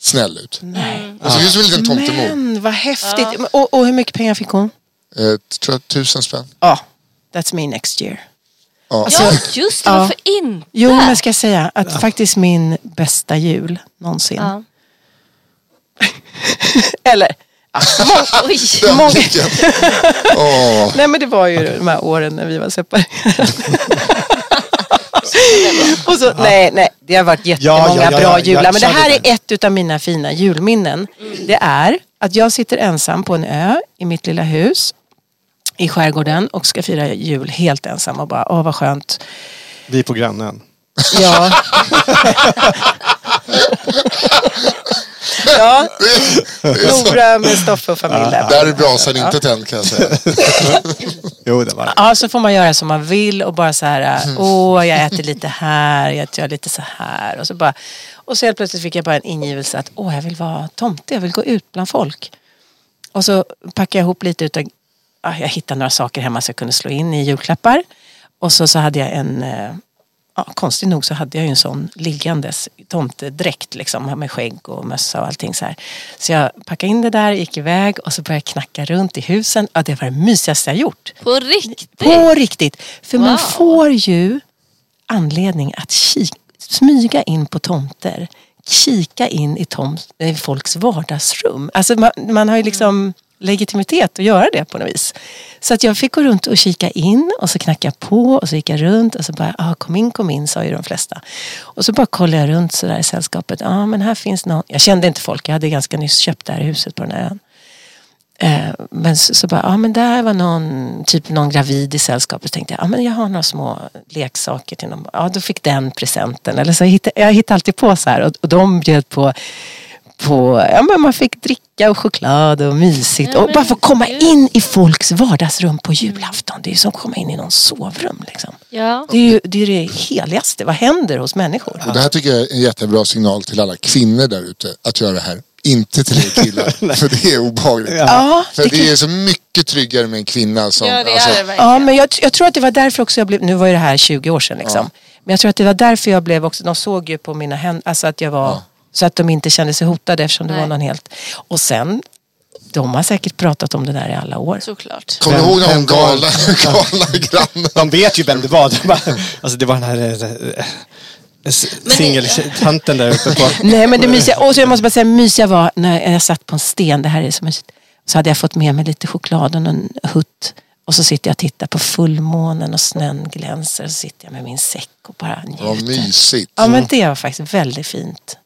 snäll ut. Och så finns det en liten tomtemor.
Men vad häftigt. Och, och hur mycket pengar fick hon?
Eh, tror jag tusen spänn.
Ja, that's me next year.
Ja.
Ja, just det.
Ja.
Varför inte?
Jo, men ska jag säga att faktiskt min bästa jul någonsin.
Ja.
Eller,
Oj.
Den
Många-
blicken. Åh,
nej men det var ju de här åren när vi var separerade. Och så, nej, nej, det har varit jättemånga
Ja, ja, ja,
bra
ja,
jular.
jag
men det Mm. här
kände
är ett utav mina fina julminnen. Det är att jag sitter ensam på en ö i mitt lilla hus i skärgården och ska fira jul helt ensam och bara, åh vad skönt.
Vi är på grannen.
Ja. ja, Nora med Stoffe och familj där.
där är brasan inte tänd kan jag säga.
Jo, det var det.
Ja, så får man göra som man vill och bara så här, åh, jag äter lite här, jag gör lite så här. Och så, bara, och så helt plötsligt fick jag bara en ingivelse att, åh, jag vill vara tomte, jag vill gå ut bland folk. Och så packade jag ihop lite utav, ja, jag hittade några saker hemma så jag kunde slå in i julklappar. Och så, så hade jag en, eh, ja, konstigt nog så hade jag ju en sån liggandes tomtedräkt liksom med skägg och mössa och allting så här. Så jag packade in det där, gick iväg och så började jag knacka runt i husen. Ja, det var det mysigaste jag gjort.
På riktigt?
På riktigt. För man
Wow.
får ju anledning att ki- smyga in på tomter. Kika in i tom- eh, folks vardagsrum. Alltså man, man har ju
Mm.
liksom legitimitet att göra det på något vis. Så att jag fick gå runt och kika in och så knackade jag på och så gick jag runt och så bara, ah, kom in, kom in, sa ju de flesta. Och så bara kollade jag runt sådär i sällskapet. Ja, ah, men här finns någon. Jag kände inte folk, jag hade ganska nyss köpt det här huset på den här ön. Eh, men så, så bara, ja men där var någon, typ någon gravid i sällskapet. Tänkte jag, ja men jag har några små leksaker till någon. Ja då fick den presenten. Eller så jag hittade, jag hittade alltid på så här. Och, och de bjöd på, på, ja men man fick dricka och choklad och mysigt.
Ja,
och
men
bara få komma
gud.
in i folks vardagsrum på julafton. Det är ju som att komma in i någons sovrum liksom.
Ja.
Det är ju det, är ju det heligaste. Vad händer hos människor?
Och det här tycker jag är en jättebra signal till alla kvinnor där ute att göra det här. Inte till er killar, för det är obehagligt.
Ja,
För
det
det,
kan-
är så mycket tryggare med en kvinna som...
Ja, det
alltså,
är det verkligen.
Ja, men jag, jag tror att det var därför också jag blev, nu var ju det här 20 år sedan liksom. Men jag tror att det var därför jag blev också, de såg ju på mina händer, alltså att jag var, så att de inte kände sig hotade eftersom det
Nej.
var någon helt. Och sen, de har säkert pratat om det där i alla år.
Såklart.
Kommer du
Vem-
ihåg när
vem
hon
var-
galna, galna grannen?
De vet ju vem det var. De bara, alltså det var den här eh, eh, s- singeltanten där uppe på...
Nej men det mysiga, och så jag måste bara säga mysiga var när jag satt på en sten, det här är så mysigt. Så hade jag fått med mig lite choklad och en hutt. Och så sitter jag och tittar på fullmånen och snön glänser. Och så sitter jag med min säck och bara
Vad
njuter.
mysigt.
Ja men det var faktiskt väldigt fint.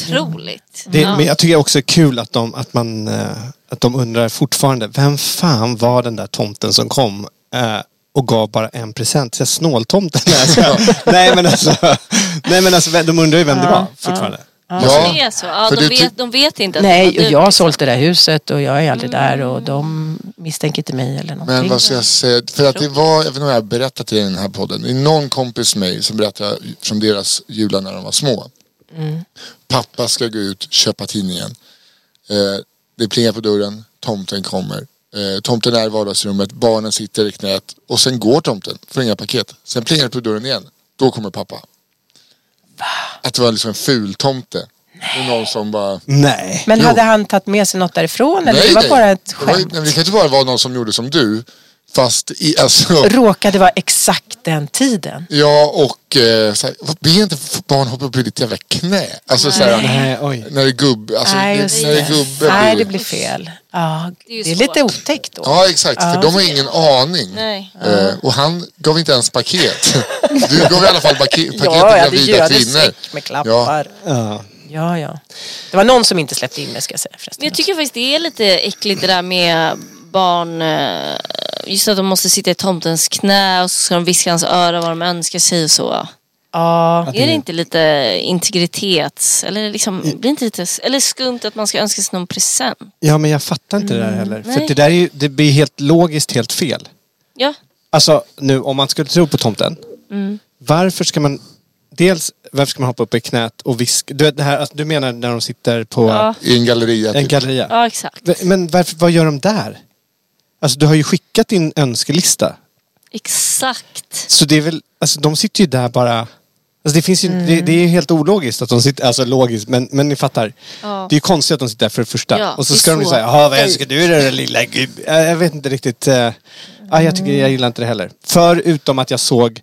Otroligt.
Det, Men jag tycker också det är kul att de, att, man, eh, att de undrar fortfarande, vem fan var den där tomten som kom eh, och gav bara en present? Så här, Snåltomten? Nej, alltså, nej, men alltså, nej men alltså, vem- de undrar ju vem det var fortfarande.
Ja. Alltså, Det är så. Ja,
För
de,
du
vet,
tyck-
de vet inte att
Nej, och
det
jag har sålt det där huset och jag är aldrig
Mm.
där och de misstänker inte mig eller någonting.
Men vad ska jag säga? För att det var, jag vet inte om jag har berättat i den här podden. Det är någon kompis med mig som berättade från deras jular när de var små. Pappa ska gå ut, köpa tidningen. Eh, det plingar på dörren, tomten kommer. Eh, tomten är i vardagsrummet, barnen sitter i knät och sen går tomten, får inga paket. Sen plingar det på dörren igen, då kommer pappa. Att det var liksom en ful tomte. Det är någon som bara...
Nej.
Men
Jo.
hade han tagit med sig något därifrån eller
Nej,
det var
nej.
bara ett
Det var ju-
skämt?
nej, men Det kan inte bara vara någon som gjorde som du. Fast i, alltså...
Råkade vara exakt den tiden.
Ja, och eh, så här, vad- be inte barn hoppa upp i ditt jävla knä. Alltså så här,
Nej, oj.
när det är gubb... Alltså,
Nej,
när
just
det
det.
är gubbe
Nej, det
blir-
blir fel. Ja,
Det är ju
det är lite
svårt.
otäckt då.
Ja, exakt. För de har ingen aning.
Nej.
Eh, och han gav inte ens paket. Du gav i alla fall pake- paket till gravida kvinnor.
med klappar. Ja. ja, Det var någon som inte släppte in mig ska jag säga förresten.
Men jag tycker faktiskt det är lite äckligt det där med barn. eh, Just att de måste sitta i tomtens knä och så ska de viska i hans öra vad de önskar sig och så.
ja.
Är det inte lite integritets... Eller liksom,
Mm.
blir inte lite... Eller skumt att man ska önska sig någon present?
Ja, men jag fattar inte det där heller. För
Mm, nej.
det där är ju, det blir helt logiskt helt fel.
Ja.
Alltså nu om man skulle tro på tomten.
Mm.
Varför ska man dels varför ska man hoppa upp i knät och viska? Du, vet det här, alltså, du menar när de sitter på
Ja,
I en galleria.
en
Typ.
galleria?
ja exakt.
V- Men varför, vad gör de där? Alltså du har ju skickat din önskelista.
Exakt.
Så det är väl, alltså de sitter ju där bara. Alltså det finns ju, det,
Mm.
det är ju helt ologiskt att de sitter, alltså logiskt, men, men ni fattar.
Ja.
Det är ju konstigt att de sitter där för det första.
Ja,
och så
det är
ska de ju
så.
säga, jaha vad önskar du dig då lilla gud? Jag, jag vet inte riktigt. eh, ja, jag, tycker, jag gillar inte det heller. Förutom att jag såg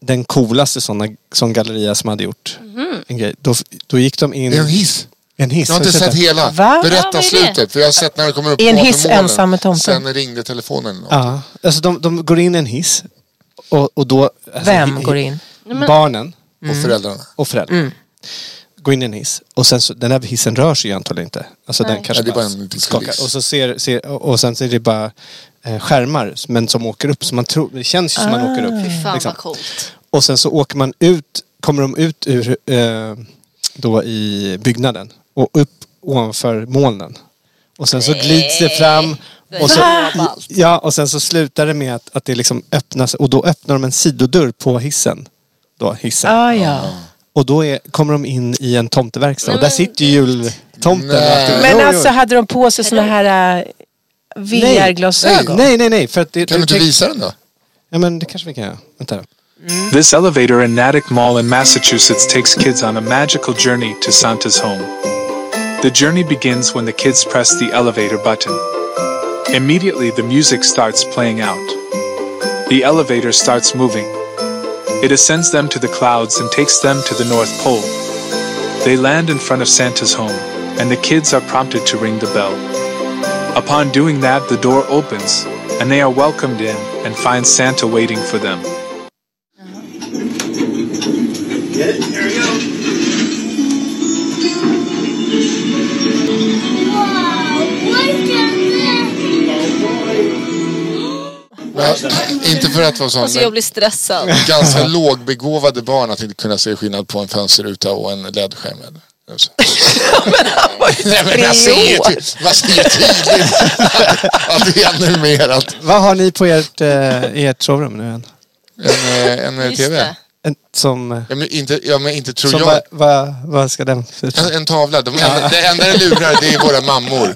den coolaste såna, sån galleria som hade gjort
Mhm.
en grej. Då, då gick de in...
Det är en hiss.
En hiss.
Jag har inte
du
sett
den?
hela.
Va?
Ja,
Berätta
vad är det?
slutet. För jag har sett när det kommer upp
I en
på
hiss,
morgonen.
ensam med tomten.
Sen ringde telefonen. eller något.
Ja, alltså de, de går in i en hiss. Och, och då... Alltså,
Vem
hi-
går in? Mm.
Barnen
Och föräldrarna.
och föräldrar. Går in i en hiss. Och sen så, den här hissen rör sig ju antagligen inte. Alltså den
Nej,
kanske
det är bara en liten kuliss.
skakar. Och, så ser, ser, och och sen så är det bara eh, skärmar men som åker upp. Så man tror, det känns ju som man åker upp.
Ah. Fan
liksom.
vad coolt.
Och sen så åker man ut, kommer de ut ur eh, då i byggnaden och upp ovanför molnen. Och sen så glids det fram. Och så, ja, och sen så slutar det med att, att det liksom öppnas och då öppnar de en sidodörr på hissen. Då, hissen.
Ah, ja.
Och då är, kommer de in i en tomteverkstad och där sitter ju jultomten. och allt det- Jo,
Men
jo.
alltså hade de på sig såna här äh,
Nej.
VR-glasögon?
Nej, nej, nej. För att det,
Kan du inte
tänk-
visa den då?
Ja, men det kanske vi kan göra. Vänta.
This elevator in Natick Mall in Massachusetts takes kids on a magical journey to Santa's home. The journey begins when the kids press the elevator button. Immediately, the music starts playing out. The elevator starts moving. It ascends them to the clouds and takes them to the North Pole. They land in front of Santa's home, and the kids are prompted to ring the bell. Upon doing that, the door opens, and they are welcomed in and find Santa waiting for them.
Men, inte för att vara sån.
Alltså
men-
jag blir stressad.
ganska lågbegåvade barn att inte kunna se skillnad på en fönsterruta och en LED-skärm. eller? Nej, men man ser ju ty- man ser ju tydligt att- att det är animerat.
Vad har ni på ert, eh, i ert sovrum nu än?
En, eh, en eh,
Just
TV.
det.
En, som... eh,
Ja men, inte, ja, men inte tror
Som
jag.
vad va, va ska den...
En, en tavla. De enda, det enda det lurar det är våra mammor.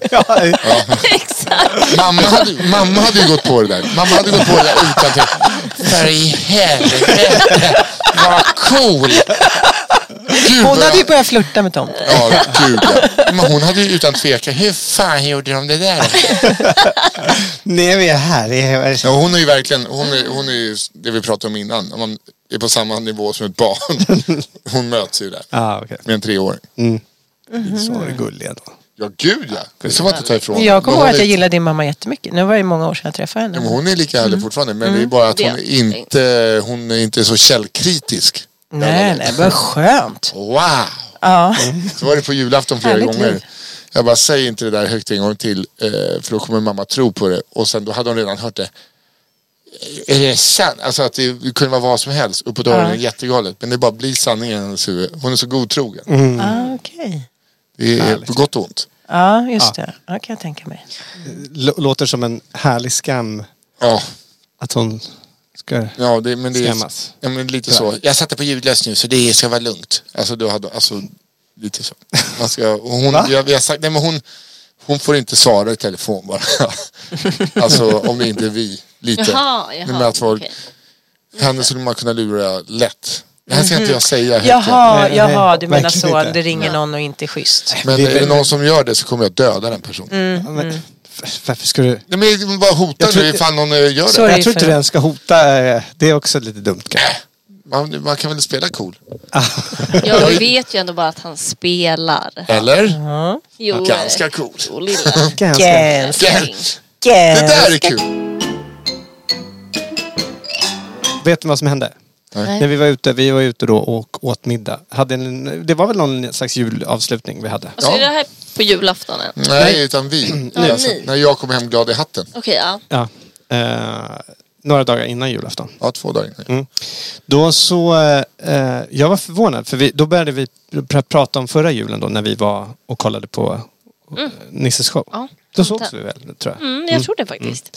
Exakt.
Mamma hade, mamma hade ju gått på det där. Mamma hade gått på det där utan till. För i helvete. Vad cool. Gud, vad
Hon
jag-
hade ju börjat flirta med tomten.
Ja, gud ja. Men hon hade ju utan tvekan, hur fan gjorde de det där?
Nej, vi är här. Vi är...
Ja, hon är ju verkligen, hon är, hon är ju det vi pratade om innan. Om man är på samma nivå som ett barn. Hon möts ju där.
Ah, okay.
Med en treåring.
Så var det gulliga då.
Ja, gud ja. Det ska man inte ta ifrån.
Jag kommer
Men hon
ihåg att
är-
jag gillade din mamma jättemycket. Nu var det många år sedan jag träffade henne.
Men Hon är lika
Mm.
härlig fortfarande. Men det är bara att hon är
Det.
inte, hon är inte så källkritisk.
Nej, nej, vad skönt.
Wow!
Ja.
Så var det på julafton flera
Härligt
gånger.
liv.
Jag bara, säg inte det där högt en gång till eh, för då kommer mamma tro på det. Och sen då hade hon redan hört det. Är det sant? Alltså att det kunde vara vad som helst. Uppåt öronen, jättegalet. Men det bara blir sanningen i hennes huvud. Hon är så godtrogen.
Mm.
Ah, Okej.
Det är på gott och ont.
Ja, just det. Ja, kan jag tänka mig.
L- låter som en härlig skam
Ja,
att hon ska...
ja det, men det är
Skämmas.
ja, men lite så. Jag satte på ljudlöst nu så det ska vara lugnt. Alltså, då hade, alltså lite så. Man ska, och hon, jag, vi har sagt, nej, men hon, hon får inte svara i telefon bara. alltså om det inte är vi. Lite.
Jaha, jaha.
Men att folk,
okej.
Henne skulle man kunna lura lätt. Det här ska
Mhm.
inte jag säga. högt.
Jaha, jaha, du menar
Verkligen
så.
inte.
Det ringer någon och inte är schysst.
Men är det någon som gör det så kommer jag döda den personen.
Mm, mm.
Varför ska du...
Nej, men bara hota
Jag tror-
nu ifall någon eh, gör det.
jag tror inte den ska hota. eh, Det är också lite dumt kanske.
Man, man kan väl spela cool?
Jag vet ju ändå bara att han spelar.
Eller?
Jo, eh,
Ganska cool.
Jo, lilla.
Ganska.
Det där är kul.
Vet du vad som hände?
Nej.
När vi var ute, vi var ute då och åt middag. Hade en, det var väl någon slags julavslutning vi hade.
Alltså, är det här på julaftonen?
Nej, utan vi.
Ja,
alltså,
ni.
när jag kom hem glad i hatten.
Okej, ja.
Ja. Eh, några dagar innan julafton.
Ja, två dagar innan.
Mm. Då så, eh, jag var förvånad för vi, då började vi pr- prata om förra julen då när vi var och kollade på
Mm.
Nisses show.
ja.
Då sågs vi väl, tror jag.
Mm, jag tror det faktiskt.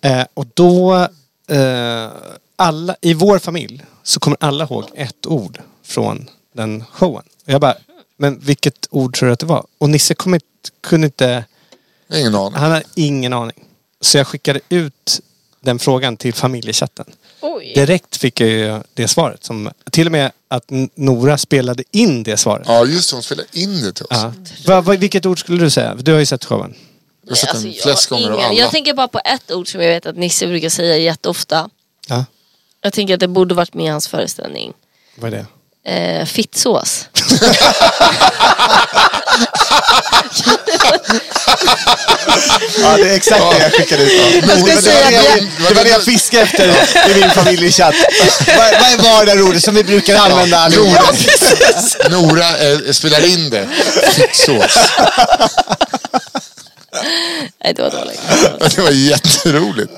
Eh, och då, eh, alla, i vår familj så kommer alla ihåg ett ord från den showen. Och jag bara, men vilket ord tror du att det var? Och Nisse kom inte, kunde inte,
Ingen aning.
han hade ingen aning. Så jag skickade ut den frågan till familjechatten.
Oj.
Direkt fick jag ju det svaret. Som, till och med att N- Nora spelade in det svaret.
Ja, just det. Hon spelade in det till oss.
Ja. Va, va, vilket ord skulle du säga? Du har ju sett showen.
Jag har sett den
Alltså, jag
flest
har
gånger av
ingen-
alla.
Jag tänker bara på ett ord som jag vet att Nisse brukar säga jätteofta.
Ja.
Jag tänker att det borde varit med i hans föreställning.
Vad är det?
Eh, fittsås.
Ja, det är exakt det jag skickade ut. Det var
ska
det
säga
jag-
att jag-
det var det jag fiskade efter i min familjechatt. Vad vad var det där ordet som vi brukar använda allihopa?
Nora, Nora eh, spelar in det. Fittsås.
Nej, det var dåligt.
Det var jätteroligt.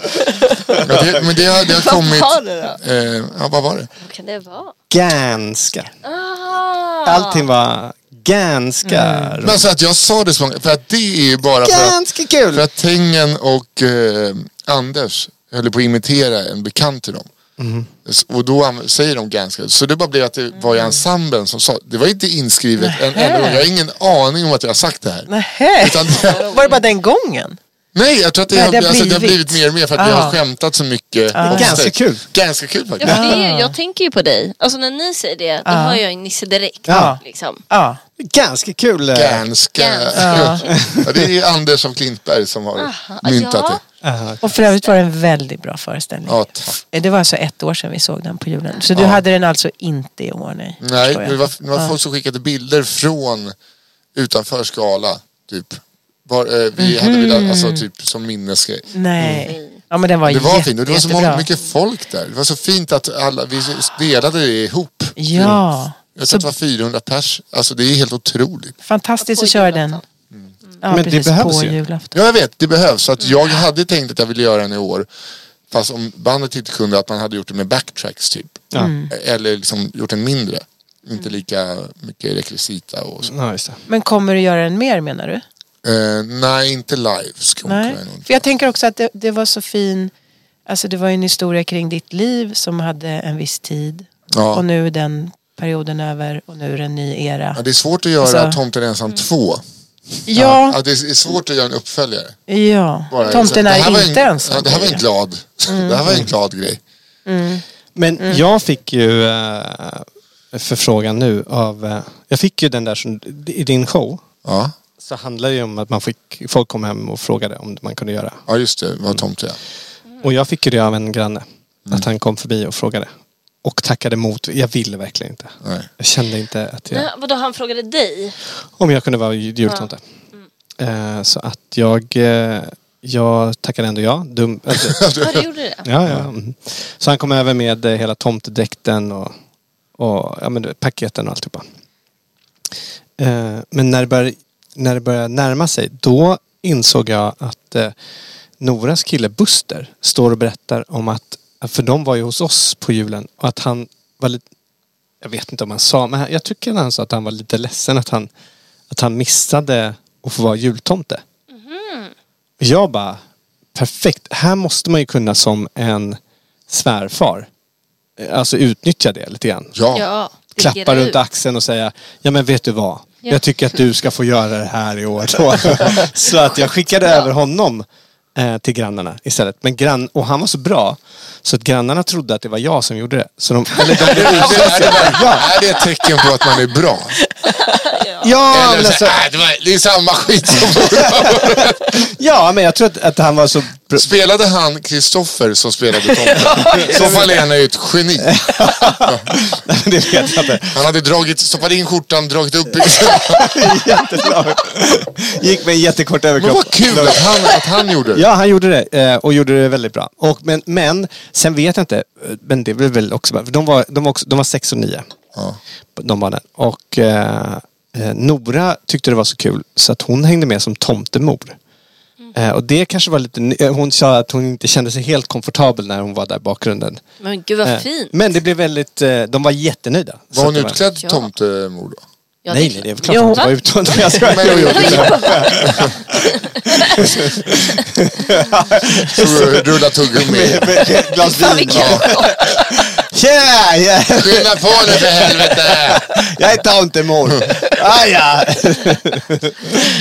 Men det, men det, har, det har kommit...
Vad var det då?
Eh, ja, vad var det?
Vad kan det vara?
Ganska.
Ah.
Allting var ganska
Mm.
roligt.
Men alltså att jag sa det så många... För att det är ju bara för att...
Ganska kul.
För att Tengen och eh, Anders höll på att imitera en bekant till dem.
Mm-hmm.
S- Och då anv- säger de ganska... Så det bara blev att det
Mm.
var i ensemblen som sa... Det var inte inskrivet en enda gång. Jag har ingen aning om att jag har sagt det här.
Nähä.
Utan det,
Var det bara den gången?
nej, jag tror att det,
Nej,
har,
det har
alltså, det har
blivit.
blivit mer och mer för att vi
Ah.
har skämtat så mycket. om
Ganska
sex.
kul.
Ganska kul
Ja,
faktiskt.
för det är, ju- jag tänker ju på dig. Alltså när ni säger det, då
Ah.
hör jag ju Nisse direkt.
Ja.
Liksom.
Ja.
Ganska kul. eh,
Ganska.
Ganska.
Ja, det är Anders av Klintberg som har
Aha,
myntat
ja.
det.
aha.
Och för övrigt var det en väldigt bra föreställning.
Ja, tack.
Det var alltså ett år sedan vi såg den på julen. Så du
Ja.
hade den alltså inte i år? Nej,
Nej,
förstår jag.
det var, det var
Ja.
folk som skickade bilder från utanför Skala, typ. Var, eh, vi hade
Mhm.
velat, alltså typ som minnesgrej.
Nej. Ja, men den var,
Det var
Mm. jätte,
fint och det var så
jättebra.
många, mycket folk där. Det var så fint att alla, vi delade det ihop.
Ja.
Jag
Så
tror att det var 400 pers. Alltså det är helt otroligt.
fantastiskt
På
att köra den. Ja,
Men det
precis,
behövs
på
ju.
julafton.
Ja, jag vet, det behövs. Så att jag hade tänkt att jag ville göra den i år. Fast om bandet inte kunde, att man hade gjort det med backtracks typ.
Ja.
Eller liksom gjort den mindre. Inte lika mycket rekvisita och så.
Ja, just det.
Men kommer du göra den mer menar du?
Eh, nej, inte live. Ska hon
Nej.
kunna göra något.
För jag tänker också att det, det var så fin, alltså det var ju en historia kring ditt liv som hade en viss tid.
Ja.
Och nu är den perioden över och nu är det en ny era.
Ja, det är svårt att göra
Alltså-
Tomten ensam 2.
Ja,
Ja, det är svårt att göra en uppföljare.
ja.
Bara-
Tomten
Det här var
är
en-
inte ensam. Mm.
Ja, det här var en glad, det här var en glad grej.
Men jag fick ju eh, förfrågan nu av... eh, jag fick ju den där som... I din show
Ja,
så handlar det ju om att man fick... Folk kom hem och frågade om man kunde göra.
ja just det. Det var Tomte ja.
Och jag fick ju det av en granne. Att han kom förbi och frågade. Och tackade emot. Jag ville verkligen inte.
Nej.
Jag kände inte att jag...
Nej, vadå, han frågade dig?
Om jag kunde vara jultomte. Eh, så att jag... Eh, jag tackade ändå ja. Dum, alltså,
Ja, du gjorde det.
Ja, ja. Mm. Så han kom över med eh, hela tomtedräkten och, och ja, men, du vet, paketen och alltihopa. Eh, men när det, började, när det började närma sig, då insåg jag att eh, Noras kille Buster står och berättar om att, för de var ju hos oss på julen, och att han var lite, jag vet inte om han sa, men han- jag tycker han sa att han var lite ledsen att han, att han missade att få vara jultomte. Jag bara, perfekt. Här måste man ju kunna som en svärfar, eh, alltså utnyttja det lite grann.
Ja,
Ja.
Klappa
Figurera
runt
ut.
axeln och säga, ja men vet du vad?
Ja.
Jag tycker att du ska få göra det här i år. Då. Så att jag skickade över honom eh, till grannarna istället. Men grann, och han var så bra så att grannarna trodde att det var jag som gjorde det. Så de, eller de blev
Är det,
osams.
bara- är det ett tecken på att man är bra?
ja,
Eller
men
så,
alltså,
"Äh, det, var, det är samma skit som
ja, men jag tror att, att han var så... bra-
Spelade han Kristoffer som spelade tomten? I så fall är han ju ett geni.
Nej, men det vet jag inte.
Han hade dragit, stoppat in skjortan, dragit upp
Jättelång. Gick med en jättekort överkropp.
Men vad kul att han, att han gjorde det.
Ja, han gjorde det eh, och gjorde det väldigt bra. Och, men, men sen vet jag inte, eh, men det blev väl också... För de, var, de, var också, de var sex och nio,
Ja.
de barnen. Och eh, eh, Nora tyckte det var så kul så att hon hängde med som tomtemor.
Mm.
Eh, och det kanske var lite... ny- eh, Hon sa att hon inte kände sig helt komfortabel när hon var där i bakgrunden.
Men gud vad
Eh,
fint.
Men det blev väldigt... Eh, de var jättenöjda. Så
Var hon
det var-
utklädd
Ja.
tomtemor då?
Ja,
Nej,
är
nej,
klart.
det är väl klart
Va?
att hon var ute. Nej, jag skojar.
Men, jo, jo, det- Så Rulla tuggummi.
Ett glas
Fan,
vin.
vilken-
Tjena! ja,
Skynda på nu för helvete!
Jag är tomtemor. Ah, ja.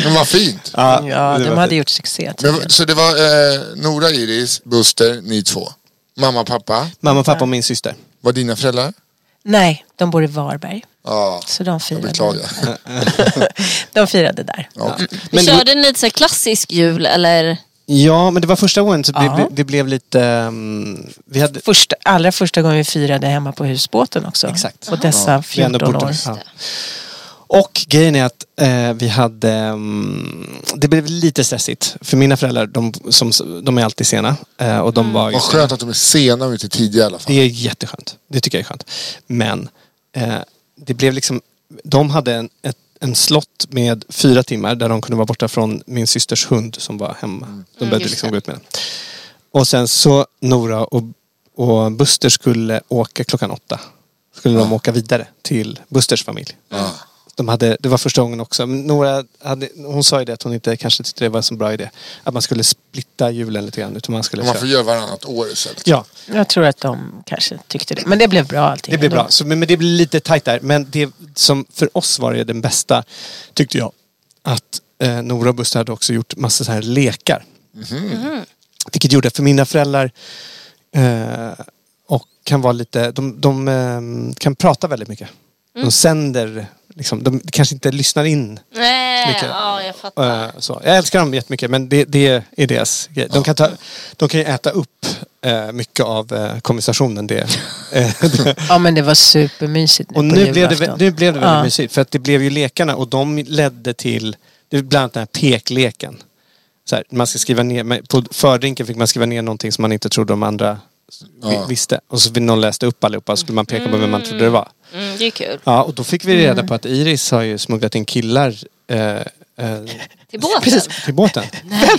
Men vad fint.
Ja,
det var
de hade
fint.
gjort succé. tror jag.
Men, så det var eh, Nora, Iris, Buster, ni två. Mamma, pappa.
Mamma, pappa och min syster.
Var dina föräldrar?
Nej, de bor i Varberg.
Ja,
Så de
jag
firade,
beklagar.
de firade där.
Ja.
Men det,
Körde ni lite så här klassisk jul eller?
ja, men det var första gången så det,
Ja.
det blev lite... ehm, vi hade...
Första, allra första gången vi firade hemma på husbåten också.
Exakt.
På dessa
Vi ändå
14
bort-
år.
ja. Och grejen är att eh, vi hade... ehm, det blev lite stressigt. För mina föräldrar, de, som, de är alltid sena. Eh, och
Mm.
de var ju
Vad skönt att de är sena och inte tidiga i alla fall.
Det är jätteskönt. Det tycker jag är skönt. Men eh, det blev liksom... De hade en, ett, en slott med fyra timmar där de kunde vara borta från min systers hund som var hemma. De behövde
Mm. just
liksom
det.
gå ut med den. Och sen så Nora och, och Buster skulle åka klockan åtta. Skulle
Ah.
de åka vidare till Busters familj. De hade, det var första gången också. Men Nora hade, hon sa ju det att hon inte kanske tyckte det var en så bra idé. Att man skulle splitta julen lite grann. Utan man skulle
Man
köra-
får göra varannat år istället.
Ja,
Jag tror att de kanske tyckte det. Men det blev bra allting.
Det blir
ändå.
bra. Så, men men det blir lite tajt där. Men det som för oss var det den bästa, tyckte jag, att eh, Nora och Buster hade också gjort massa så här lekar. Vilket gjorde, för mina föräldrar eh, och kan vara lite, de, de eh, kan prata väldigt mycket. De sänder, liksom, de kanske inte lyssnar in.
Nej,
Mycket.
ja jag fattar.
Eh, så. Jag älskar dem jättemycket men det, det är deras grej. De kan, ta, de kan ju äta upp eh, mycket av eh, konversationen det, eh, det,
Ja men det var supermysigt nu
och
på
nu blev, det,
julafton.
vä- nu blev det väldigt
Ja.
mysigt. För att det blev ju lekarna och de ledde till det är bland annat den här pekleken. Så här, man ska skriva ner, men på fördrinken fick man skriva ner någonting som man inte trodde de andra vi-
Ja.
visste. Och så vill någon läste upp allihopa så skulle man peka på vem man trodde det var.
Mm, det är kul.
Ja, och då fick vi
Mm.
reda på att Iris har ju smugglat in killar eh, eh,
Till båten.
till båten.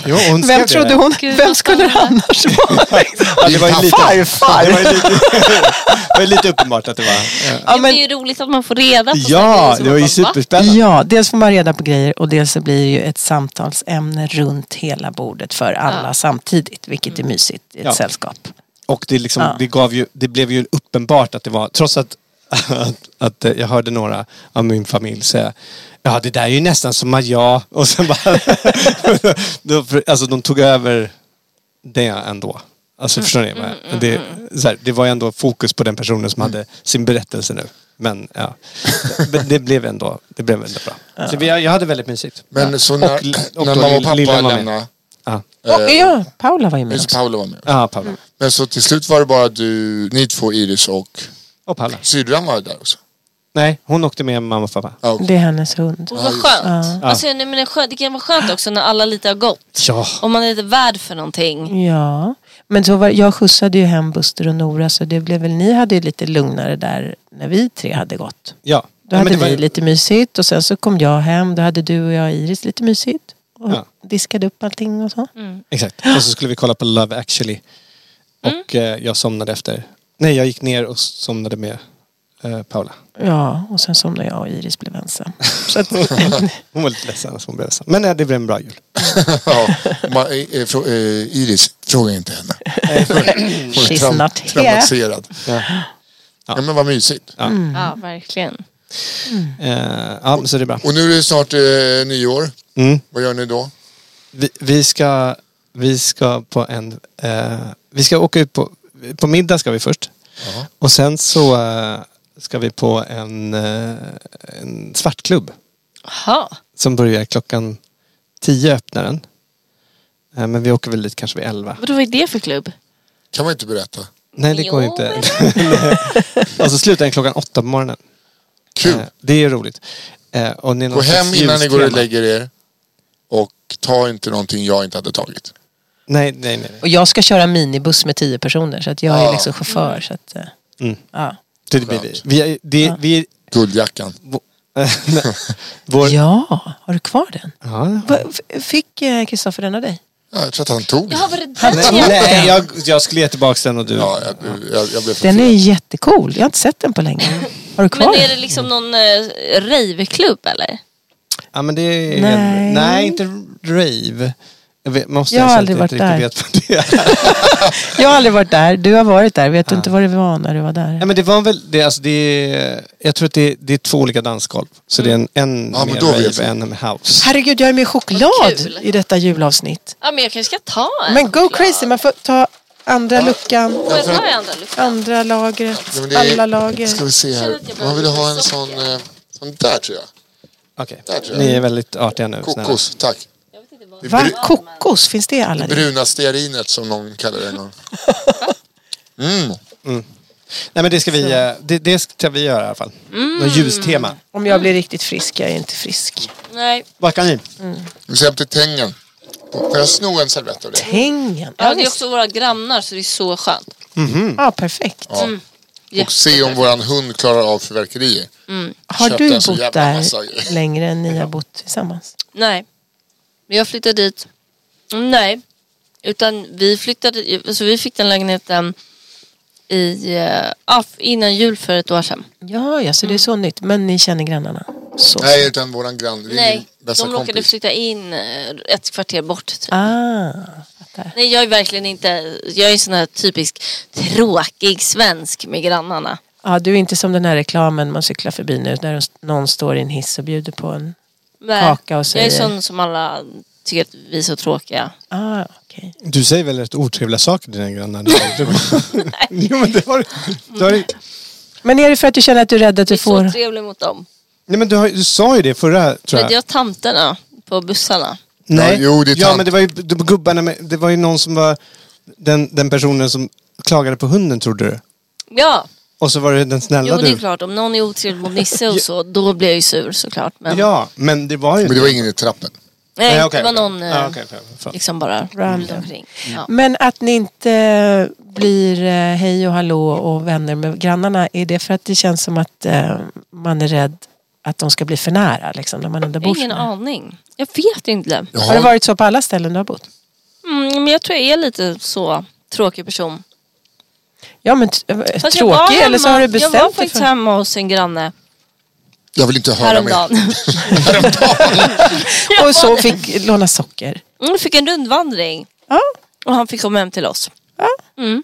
Jo, hon skrev
Vem
det
trodde
där.
hon?
Gud,
Vem
vad
skulle det annars vara?
Ja, det var ju lite,
Farfar!
det var ju lite, det var ju lite uppenbart att det var... eh,
Ja, men... Det är ju roligt att man får reda på
Ja, det var ju
superspännande.
superspännande.
Ja, dels får man reda på grejer och dels så blir det ju ett samtalsämne runt hela bordet för alla samtidigt. Vilket
Mm.
är mysigt i ett
Ja.
sällskap.
Och det, liksom,
Ja.
det, gav ju, det blev ju uppenbart att det var, trots att, att, att eh, jag hörde några av min familj säga Ja det där är ju nästan som att jag... Och sen bara... då, för- alltså de tog över det ändå. Alltså förstår ni? vad
Mm,
jag- Det, så här, det var ju ändå fokus på den personen som hade sin berättelse nu. Men ja, Men det blev ändå, det blev ändå bra. Så vi, jag hade väldigt mysigt.
Men
ja.
så
Och
när,
li- och
när
då
mamma och
Lilla
pappa
var med.
lämnade,
Ja,
Och, ja, Paula var ju med
just
också.
Paolo var med.
ja
Mm.
Paula.
Men så till slut var det bara du, ni två, Iris och
Och Paula.
syrran var där också.
Nej, hon åkte med mamma och pappa.
Ja, okej.
Det är hennes hund.
Och vad skönt. Alltså, nej, men det, är skönt. det kan vara skönt också när alla lite har gått.
Ja.
Om man är lite värd för någonting.
Ja, men så var, jag skjutsade ju hem Buster och Nora så det blev väl, ni hade ju lite lugnare där när vi tre hade gått.
Ja.
Då
Ja, men
hade
det var-
vi lite mysigt och sen så kom jag hem, då hade du och jag och Iris lite mysigt. Och
Ja.
diskade upp allting och så.
Mm.
Exakt. Och så skulle vi kolla på Love actually.
Mm.
Och eh, jag somnade efter. Nej, jag gick ner och somnade med eh, Paula.
Ja, och sen somnade jag och Iris blev ensam. Så att,
Hon var lite ledsen att hon blev ledsen. Men eh, det blev en bra jul.
Ja. Ma, eh, eh, frå, eh, Iris, fråga inte henne. Hon är
She's
traum-
not here.
traumatiserad.
Ja.
Ja. men vad mysigt.
Ja, verkligen.
Eh, ja, men så det är bra.
Och nu är det snart eh, nyår.
Mm.
Vad gör ni då?
Vi, vi ska... Vi ska på en... Eh, vi ska åka ut på... På middag ska vi först.
Ja.
Och sen så eh, ska vi på en, eh, en svartklubb.
Jaha.
Som börjar klockan tio öppnar den. Eh, men vi åker väl dit kanske vid elva.
Vadå, vad är det för klubb?
Kan man inte berätta.
Nej, det går
Jo,
inte. och så slutar den klockan åtta på morgonen.
Kul.
Eh, det är roligt. Eh, och det är någon
Gå hem
slags
innan ni går och
ljustema.
lägger er. Och ta inte någonting jag inte hade tagit.
Nej, nej, nej. nej.
Och jag ska köra minibuss med tio personer så att jag är liksom chaufför. Så att, eh,
Mm.
ja.
Det blir det. Vi, är- det, vi, är-
Guldjackan.
vår, ja.
ja, har du kvar den? Va, f- fick eh, Kristoffer den av dig?
Ja, jag tror att han tog
Jaha, var det
Nej,
där jag...
nej jag, jag skulle ge tillbaka den och du...
Ja, jag, jag, jag blev
Den är
förfilad.
jättecool. Jag har inte sett den på länge. Har du
Mm. Men
kvar
är det
den?
liksom någon eh, raveklubb eller?
Ja men det är...
Nej.
Nej, inte rave. Jag vet, måste
Jag har
erkänna
aldrig
att jag
varit
inte riktigt Vet vad det är.
Jag har aldrig varit där. Du har varit där. Vet du inte vad det var när du var där?
Nej men det var väl, det, alltså, det är, jag tror att det, det är två olika dansgolv. Så det är en, en
Ja, men
med
då vet
rave och
jag.
en med house.
Herregud, jag är med
Vad
choklad
kul.
i detta julavsnitt.
Ja men jag kanske ska ta en.
Men go
choklad.
crazy, man får ta andra luckan,
Får jag ta en andra lucka?
andra lagret,
Nej, men det är-
alla lager.
Ska vi se här. Man vill ha en sån... Eh, sån där tror jag.
Okej,
Där tror jag.
ni är väldigt artiga nu. snälla.
Kokos, tack. Det
Va?
bru-
Kokos, finns det i alla?
bruna stearinet som någon kallar det. Någon. Mm.
Nej men det ska vi, eh, det, det ska vi göra i alla fall.
Mm.
Något ljustema.
Om jag blir riktigt frisk, jag är inte frisk.
Nej.
Vad kan ni?
Vi ser upp till tängen. Får jag sno en servett av dig?
Hängen.
Ja, det är
Ja, visst.
också våra grannar så det är så skönt.
ja, perfekt.
Och se om våran hund klarar av fyrverkerier.
Har
Köpte
du
en så
bott
jävla massa
där
grejer.
längre än ni har bott tillsammans?
Nej. Men jag flyttade dit. Mm, Nej. Utan vi flyttade, alltså vi fick den lägenheten i, eh, ah, innan jul för ett år sedan.
Ja, ja, så det är så nytt. Men ni känner grannarna? Så.
Nej, utan våran grann. Det är
Nej,
min bästa
de råkade
kompis.
flytta in eh, ett kvarter bort. Typ.
Ah,
Nej, jag är verkligen inte, jag är sån här typisk tråkig svensk med grannarna.
ja, Ah, du är inte som den här reklamen man cyklar förbi nu där de- någon står i en hiss och bjuder på en...
Nej,
Kaka
Jag
och
är
säger-
sån som alla tycker att vi är så tråkiga.
Ah, okej.
Du säger väl rätt otrevliga saker till dina grannar? jo men det har du. Har, du-
Men är det för att du känner att du är rädd att
Jag
du
är så
får...
trevlig mot dem.
nej men du, har, du sa ju det förra tror
Men
jag.
jag tanterna på bussarna.
Nej.
Ja, jo, det är
ja
tant.
men det var ju det var gubbarna med, Det var ju någon som var den, den personen som klagade på hunden trodde du.
Ja,
Och så var det den snälla
jo det är
du.
klart. Om någon är otrevlig mot Nisse och så, då blir jag ju sur såklart. Men,
Ja, men det var ju...
Men det var ingen i trappen.
Nej,
Nej, okej,
det var
okej.
någon
Ja,
eh,
okej, Mm. okej, fan.
liksom bara rullade omkring. Ja.
Men att ni inte blir eh, hej och hallå och vänner med grannarna, är det för att det känns som att eh, man är rädd att de ska bli för nära liksom, när man ändå bor så
Ingen
nära?
aning. Jag vet inte.
Jag
Har det
har,
varit så på alla ställen du har bott?
Mm, men jag tror jag är lite så tråkig person.
Ja men t- eh,
Fast jag var
tråkig eller så
hemma-
har du
Jag var
bestämt dig
faktiskt
för...
hemma hos en granne
jag vill inte höra mer.
häromdagen.
Och så fick låna socker.
Mm, fick en rundvandring
Ja,
och han fick komma hem till oss.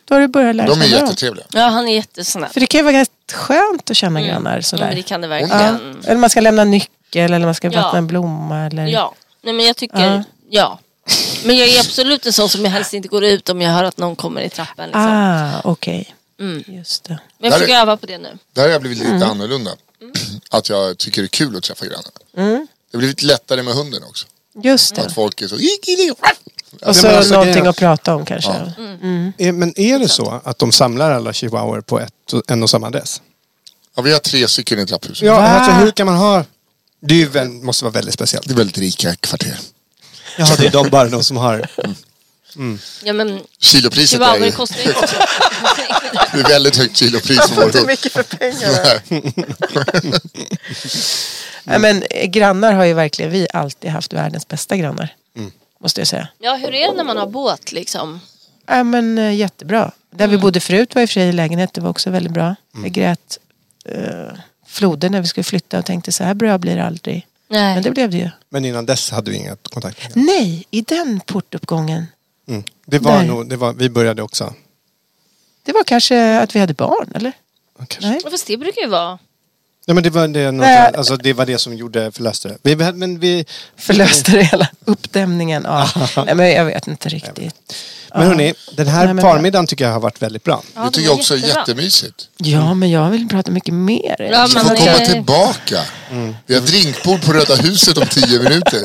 då har du börjat lära
De är
känna dem.
jättetrevliga.
Ja, han är jättesnäll.
För det kan ju vara rätt skönt att känna grannar
Mm, det
sådär.
kan det
Ja.
verkligen.
Eller man ska lämna nyckel eller man ska
Ja.
vattna en blomma eller...
Ja, nej men jag tycker,
Ja.
ja. Men jag är absolut en sån som jag helst inte går ut om jag hör att någon kommer i trappen. Liksom.
Ah, okej.
Mm.
Just det.
Men
Där
jag försöker öva på det nu.
Där har jag blivit lite annorlunda. Att jag tycker det är kul att träffa grannarna. Det har blivit lättare med hunden också.
Just det.
Att folk är så...
Och så
men alltså, det-
någonting att prata om kanske.
Eh, Men är det så att de samlar alla chihuahuor på ett, och- en och samma adress?
Ja, vi har tre stycken i trapphuset.
Ja, alltså hur kan man ha... Det är ju väl, måste vara väldigt speciellt.
Det är väldigt rika kvarter.
Ja, det är de bara de som har...
Ja, men
Kilopriset är,
chihuahua
ju-
kostar ju också.
det är väldigt högt kilopris för vår hund.
mycket för pengar. Nej, men eh, grannar har ju verkligen vi alltid haft världens bästa grannar. Måste jag säga.
Ja, hur är det när man har båt liksom?
Ja, men eh, jättebra. Där vi bodde förut var i och för sig i lägenhet. Det var också väldigt bra. Vi grät eh, floden när vi skulle flytta och tänkte så här bra blir det aldrig. Men
Nej.
det blev det ju.
Men innan dess hade vi inga kontakter.
Nej, i den portuppgången.
Mm. Det var
Nej.
nog... Det var, vi började också.
Det var kanske att vi hade barn eller?
Kanske.
Nej.
Fast det brukar ju vara
Nej, men det var det, något,
Nej.
alltså, det var det som gjorde förlöste det. Vi, men vi,
Förlöste det hela. Uppdämningen av... Nej, men jag vet inte riktigt.
men hörni, den här
Nej, men-
förmiddagen tycker jag har varit väldigt bra.
Ja,
Det tycker
var
jag också är
jättebra.
jättemysigt.
Ja, men jag vill prata mycket mer.
Ja,
Du
men
får
det-
komma tillbaka. Vi har drinkbord på Röda huset om tio minuter.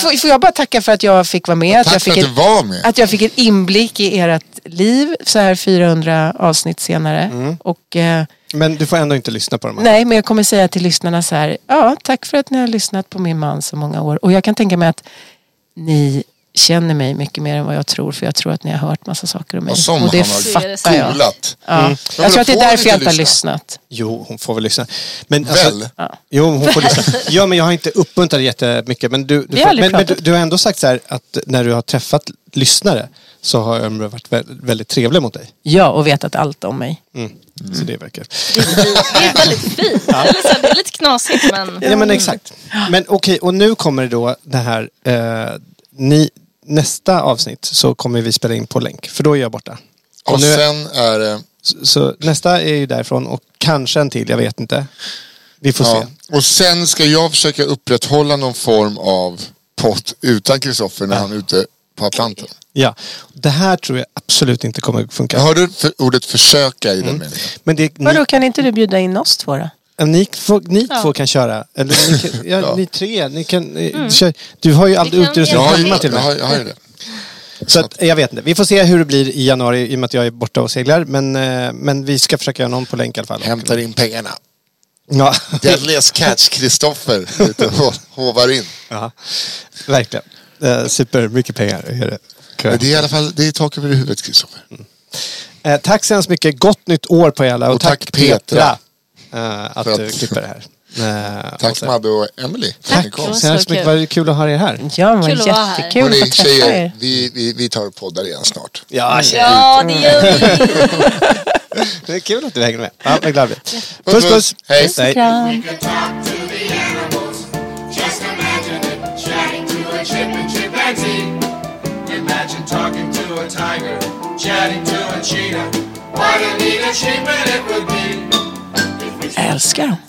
Får, får jag bara tacka för att jag fick vara med?
Tack
jag
för
fick
att du
ett,
var med.
att jag fick ett inblick i ert liv så här 400 avsnitt senare.
Mm.
Och, eh,
Men du får ändå inte lyssna på dem.
nej, men jag kommer säga till lyssnarna så här. Ja, tack för att ni har lyssnat på min man så många år. Och jag kan tänka mig att ni känner mig mycket mer än vad jag tror. För jag tror att ni har hört massa saker om mig.
Och som
och det
han har
fattar jag.
coolat.
Ja. Jag
men
tror att det
då
är
får
därför
ni
jag
inte
inte har lyssnat.
Jo, hon får väl lyssna. Men, alltså-
Väl?
Ja.
Jo, hon får lyssna. Ja, men jag har inte uppmuntrat dig jättemycket. Men du,
Vi
du,
har
får,
aldrig
men, men du,
pratat.
du har ändå sagt så här att när du har träffat lyssnare så har de varit vä- väldigt trevliga mot dig.
Ja, och vetat allt om mig.
Så det verkar...
Mm. Det är väldigt fint. Eller så här, det är lite knasigt men...
Ja, men exakt. Men okej, och nu kommer det då det här... Eh, ni, nästa avsnitt så kommer vi spela in på länk, för då är jag borta. Och
Och
nu-
sen är det...
Så, så nästa är ju därifrån och kanske en till, jag vet inte. Vi får
Ja.
se.
Och sen ska jag försöka upprätthålla någon form av pott utan Kristoffer när han är ute på Atlanten.
Ja. Det här tror jag absolut inte kommer att funka.
Jag hörde för ordet försöka i den meningen.
Men det, ni,
Vadå, kan inte du bjuda in oss två då?
ni, två, ni två kan köra. Eller ni, kan, ja,
Ja.
ni tre, ni kan... eh, Kör, du har ju aldrig
Mm. Vi kan
utrustning
Jag har ju,
hemma till
jag
mig.
har, jag har ju det.
Så att, jag vet inte. Vi får se hur det blir i januari i och med att jag är borta och seglar. Men, eh, men vi ska försöka göra någon på länk i alla fall.
Hämtar in pengarna.
Ja,
Deadliest catch Kristoffer ute och hovar in.
ja. verkligen. Eh, super mycket pengar är det.
Men det är i alla fall, det är tak över huvudet Kristoffer.
Eh, tack så hemskt mycket. Gott nytt år på er alla. Och,
Och tack, Petra.
eh, att,
För att-
du klipper det här. Eh, och
Tack
så-
Madde och Emily.
Tack
Det var
så hemskt
så
mycket.
kul.
Vad kul att ha er
Mm.
här.
Ja, men
Kul att vara här.
jättekul att få
Hörni
träffa
tjejer,
er.
vi, vi, vi tar och poddar igen snart.
Ja,
Ja, det gör vi.
det är kul att du hänger med. Ja, vad glad jag blir.
Puss,
Puss, puss.
puss. Hej.
Kram.
talk to the animals. Just imagine it, chatting to a chip and chimpanzee. Imagine talking to a tiger, chatting to a cheetah. What a neat achievement it would be.
Jag älskar dem.